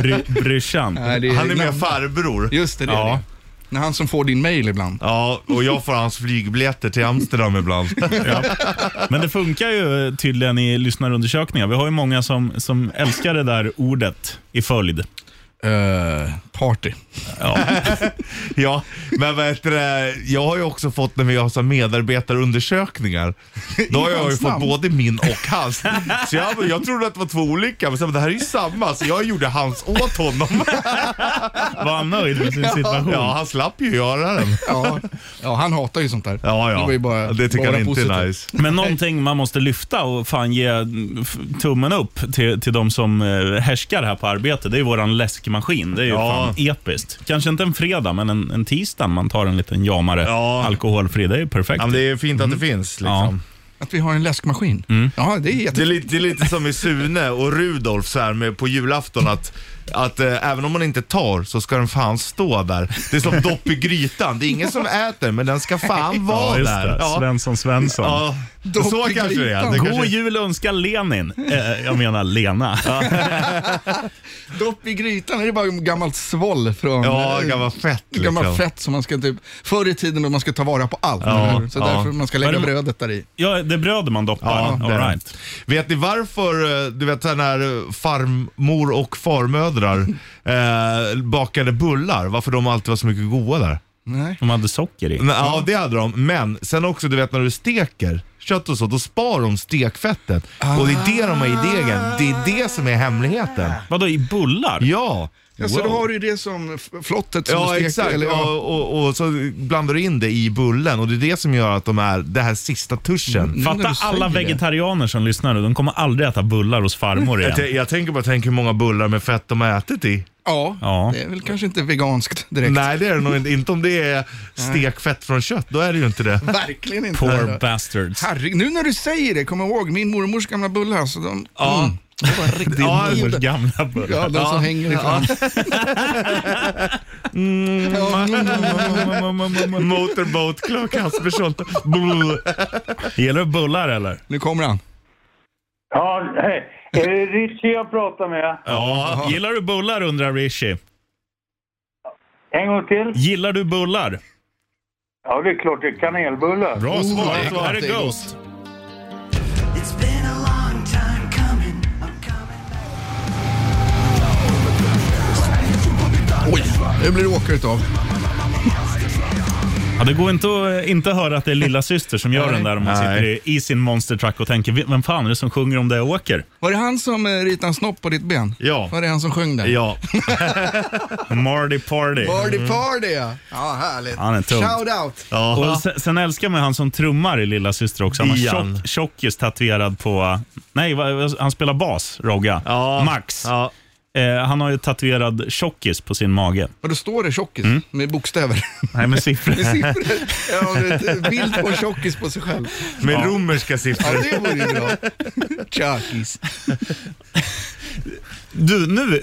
Bry, brorsan. Nej, det Han är mer namn. farbror. Just det, det är Ja. det. Det är han som får din mail ibland. Ja, och jag får hans flygbiljetter till Amsterdam ibland. Men det funkar ju tydligen i lyssnarundersökningar. Vi har ju många som, som älskar det där ordet i följd. Eh, party. Ja. Ja, men vad heter det? Jag har ju också fått när vi har så här medarbetarundersökningar. Då har jag ju hans fått namn? både min och hans. Så jag, jag trodde att det var två olika, men sen, det här är ju samma. Så jag gjorde hans åt honom. Var han nöjd med sin situation? Ja, han slapp ju göra den. Ja, ja han hatar ju sånt där. Ja, Det ja. var ju bara- det tycker bara han inte positivt. är nice. Men någonting man måste lyfta och fan ge f- tummen upp till, till de som eh, härskar här på arbetet, det är ju våran läskmaskin. Det är ju Ja. fan episkt. Kanske inte en fredag, men en, en tisdag man tar en liten jamare Ja. alkoholfri. Det är ju perfekt. Ja, men det är fint att Mm. det finns liksom. Att vi har en läskmaskin. Ja, det är Mm. Det är, jätte... lite, det är lite som i Sune och Rudolf så här med på julafton att, att eh, även om man inte tar så ska den fan stå där. Det är som dopp i grytan. Det är ingen som äter men den ska fan Ja, vara just där. det. Svensson Svensson. ja. Dopp så i kanske det är. grytan. Det God kanske... jul önskar Lenin. Eh, jag menar Lena. Dopp i grytan, är det bara gammalt svoll från... eh, Ja, gammalt fett liksom. Gammalt fett som man ska typ... Förr i tiden då man ska ta vara på allt. Ja, eller hur? så ja. därför man ska lägga Men- brödet där i. Ja, det är bröd man doppar. Ja, det All är det. right. Vet ni varför, eh, du vet så här när farmor och farmödrar eh, bakade bullar, varför de alltid var så mycket goda där? Nej. De hade socker i. Nej, ja, det hade de. Men sen också, du vet när du steker kött och så, då spar de stekfettet. Och det är det de har i degen. Det är det som är hemligheten. Vadå, i bullar? Ja. Ja, så då har du ju det som f- flottet som du Ja, steker. exakt. Eller, Ja, ja. och, och så blandar du in det i bullen och det är det som gör att de är det här sista tuschen. Nu när Fatta du säger alla det. vegetarianer som lyssnar nu. De kommer aldrig äta bullar hos farmor igen. Jag, t- jag tänker bara tänk hur många bullar med fett de har ätit i. Ja, Ja. det är väl kanske inte veganskt direkt. Nej, det är det nog inte. Inte om det är stekfett från kött, då är det ju inte det. Verkligen inte. Poor bastards. Herregud, nu när du säger det, kom ihåg min mormors gamla bullar. Alltså, de, Ja. mm, det var riktigt Ja, god. Farmors gamla bullar. Ja, de som hänger i fram. Ja, mm, mm, Motorboat Clark Kaspersson. Gillar du bullar eller? Nu kommer han. Ja, hej. Är det Richie jag pratar med? Ja. Gillar du bullar undrar Rishi. En gång till? Gillar du bullar? Ja, det är klart. Det är kanelbullar. Bra svar. Oh, det är klart Här det är är Ghost. Oj, nu blir det åka utav. Ja, det går inte att eh, inte höra att det är lilla syster som gör den där om man Nej. sitter i, i sin monster truck och tänker "Ve- vem fan är det som sjunger om det jag åker? Var det han som eh, ritade en snopp på ditt ben? Ja. Var det han som sjöng den? Ja. Marty Party. Party party ja. Ja, härligt. Han är tung. Shout out. Och sen, sen älskar man ju han som trummar i Lilla Syster också. Han har Ian. tjock, tjockis tatuerad på... Nej, vad- vad- han spelar bas, Rogga. Ja. Max. Ja. Eh, han har ju tatuerad tjockis på sin mage. Och då står det tjockis med bokstäver. Nej, men siffror. Med siffror. Ja, med ett bild på en tjockis på sig själv. Med romerska siffror. Ja, det vore ju bra. Tjockis. Du, nu,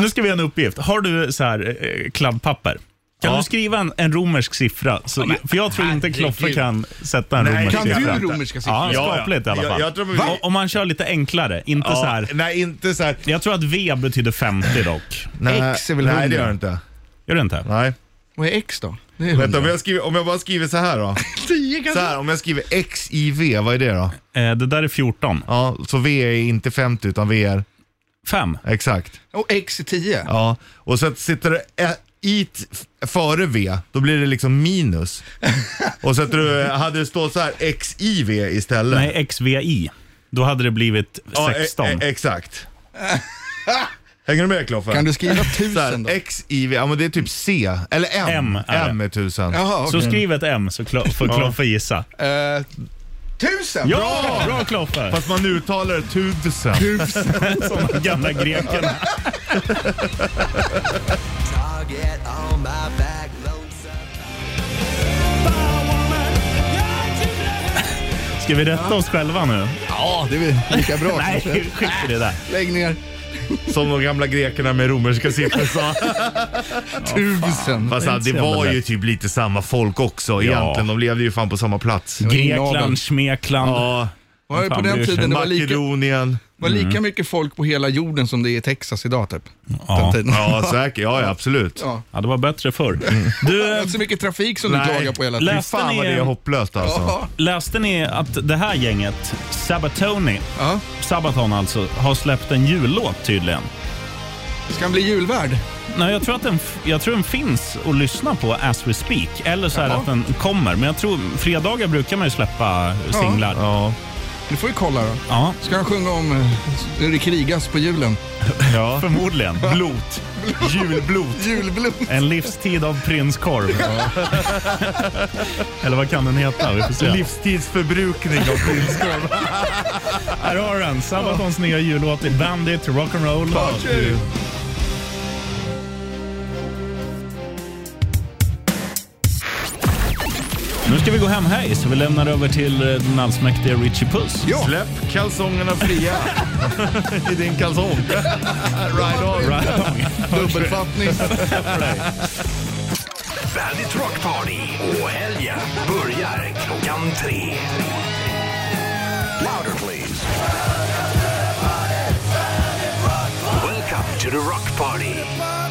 nu ska vi ha en uppgift. Har du så här eh, kladdpapper? Kan Ja. du skriva en, en romersk siffra? Så, för jag tror inte Kloffe herregud. kan sätta en Nej, romersk kan du siffra. romerska siffror? Ja, Ja, ja. skapligt i alla fall. Jag- jag tror vi- Va? Om man kör lite enklare, inte så här. Nej, inte så här. Jag tror att V betyder 50 dock. Nej, X är väl Nej, det 100. gör det inte. Gör det inte? Nej. Vad är X då? Det är Vänta, om 100. jag, skriver, om jag bara skriver så här då. Tio Så kanske? här, om jag skriver XIV, vad är det då? Eh, det där är 14. Ja, så V är inte 50 utan V är, 5. exakt. Och X är tio. Ja, och så att sitter det ä- i t- f- före V, då blir det liksom minus. Och så att du, hade det stått så här XIV istället. Nej, XVI. Då hade det blivit Ja, e- 16. e- exakt. Hänger du med Kloffe? Kan du skriva så tusen då? här, XIV, ja men det är typ C, eller M. M är det. M är tusen. Jaha, Så okej. skriv ett M så klo- får Kloffe gissa. Eh, Tusen! Ja! Bra Kloffe! Fast man uttalar det tusen. Tusen. Som de gamla grekerna. Ska vi rätta oss själva nu? Ja, det är väl lika bra kanske. Nej, skit i det där. Lägg ner. Som de gamla grekerna med romerska siffror sa. Tusen. Fast Det är det, inte så jävla var ju lätt. typ lite samma folk också egentligen. De levde ju fan på samma plats. Grekland, Smekland. Ja, Var det på Fan, den det tiden det var lika, Makedonien. var lika mycket folk på hela jorden som det är i Texas idag typ? Den Ja. tiden. Ja, säkert. Ja, ja absolut. Ja. Ja, det var bättre förr. Du, Det är eh, inte så mycket trafik som du Nej. klagar på hela tiden. Fy Läste fan vad ni- det är hopplöst alltså. Ja. läste ni att det här gänget, Sabatoni, Ja. Sabaton alltså, har släppt en jullåt tydligen? Ska han bli julvärd? Nej, jag tror att den, f- jag tror den finns att lyssna på as we speak. Eller så här att den kommer. Men jag tror fredagar brukar man ju släppa singlar. Ja. Ja, Nu får vi kolla då. ja. Ska han sjunga om eh, hur det krigas på julen? ja. Förmodligen. Blot. Julblot. Julblod. En livstid av prinskorv. Eller vad kan den heta? Vi får se. Livstidsförbrukning av kunskap. Här har den. Sabatons nya jullåt i Bandit, Rock'n'Roll. Nu ska vi gå hem hej, så vi lämnar över till eh, den allsmäktige Richie Puss. Ja. Släpp kalsongerna fria i din kalsong. Ride on. Right on. Dubbelfattning. Bandit Rock Party och helgen börjar klockan tre. Louder please. Welcome to the Rock Party.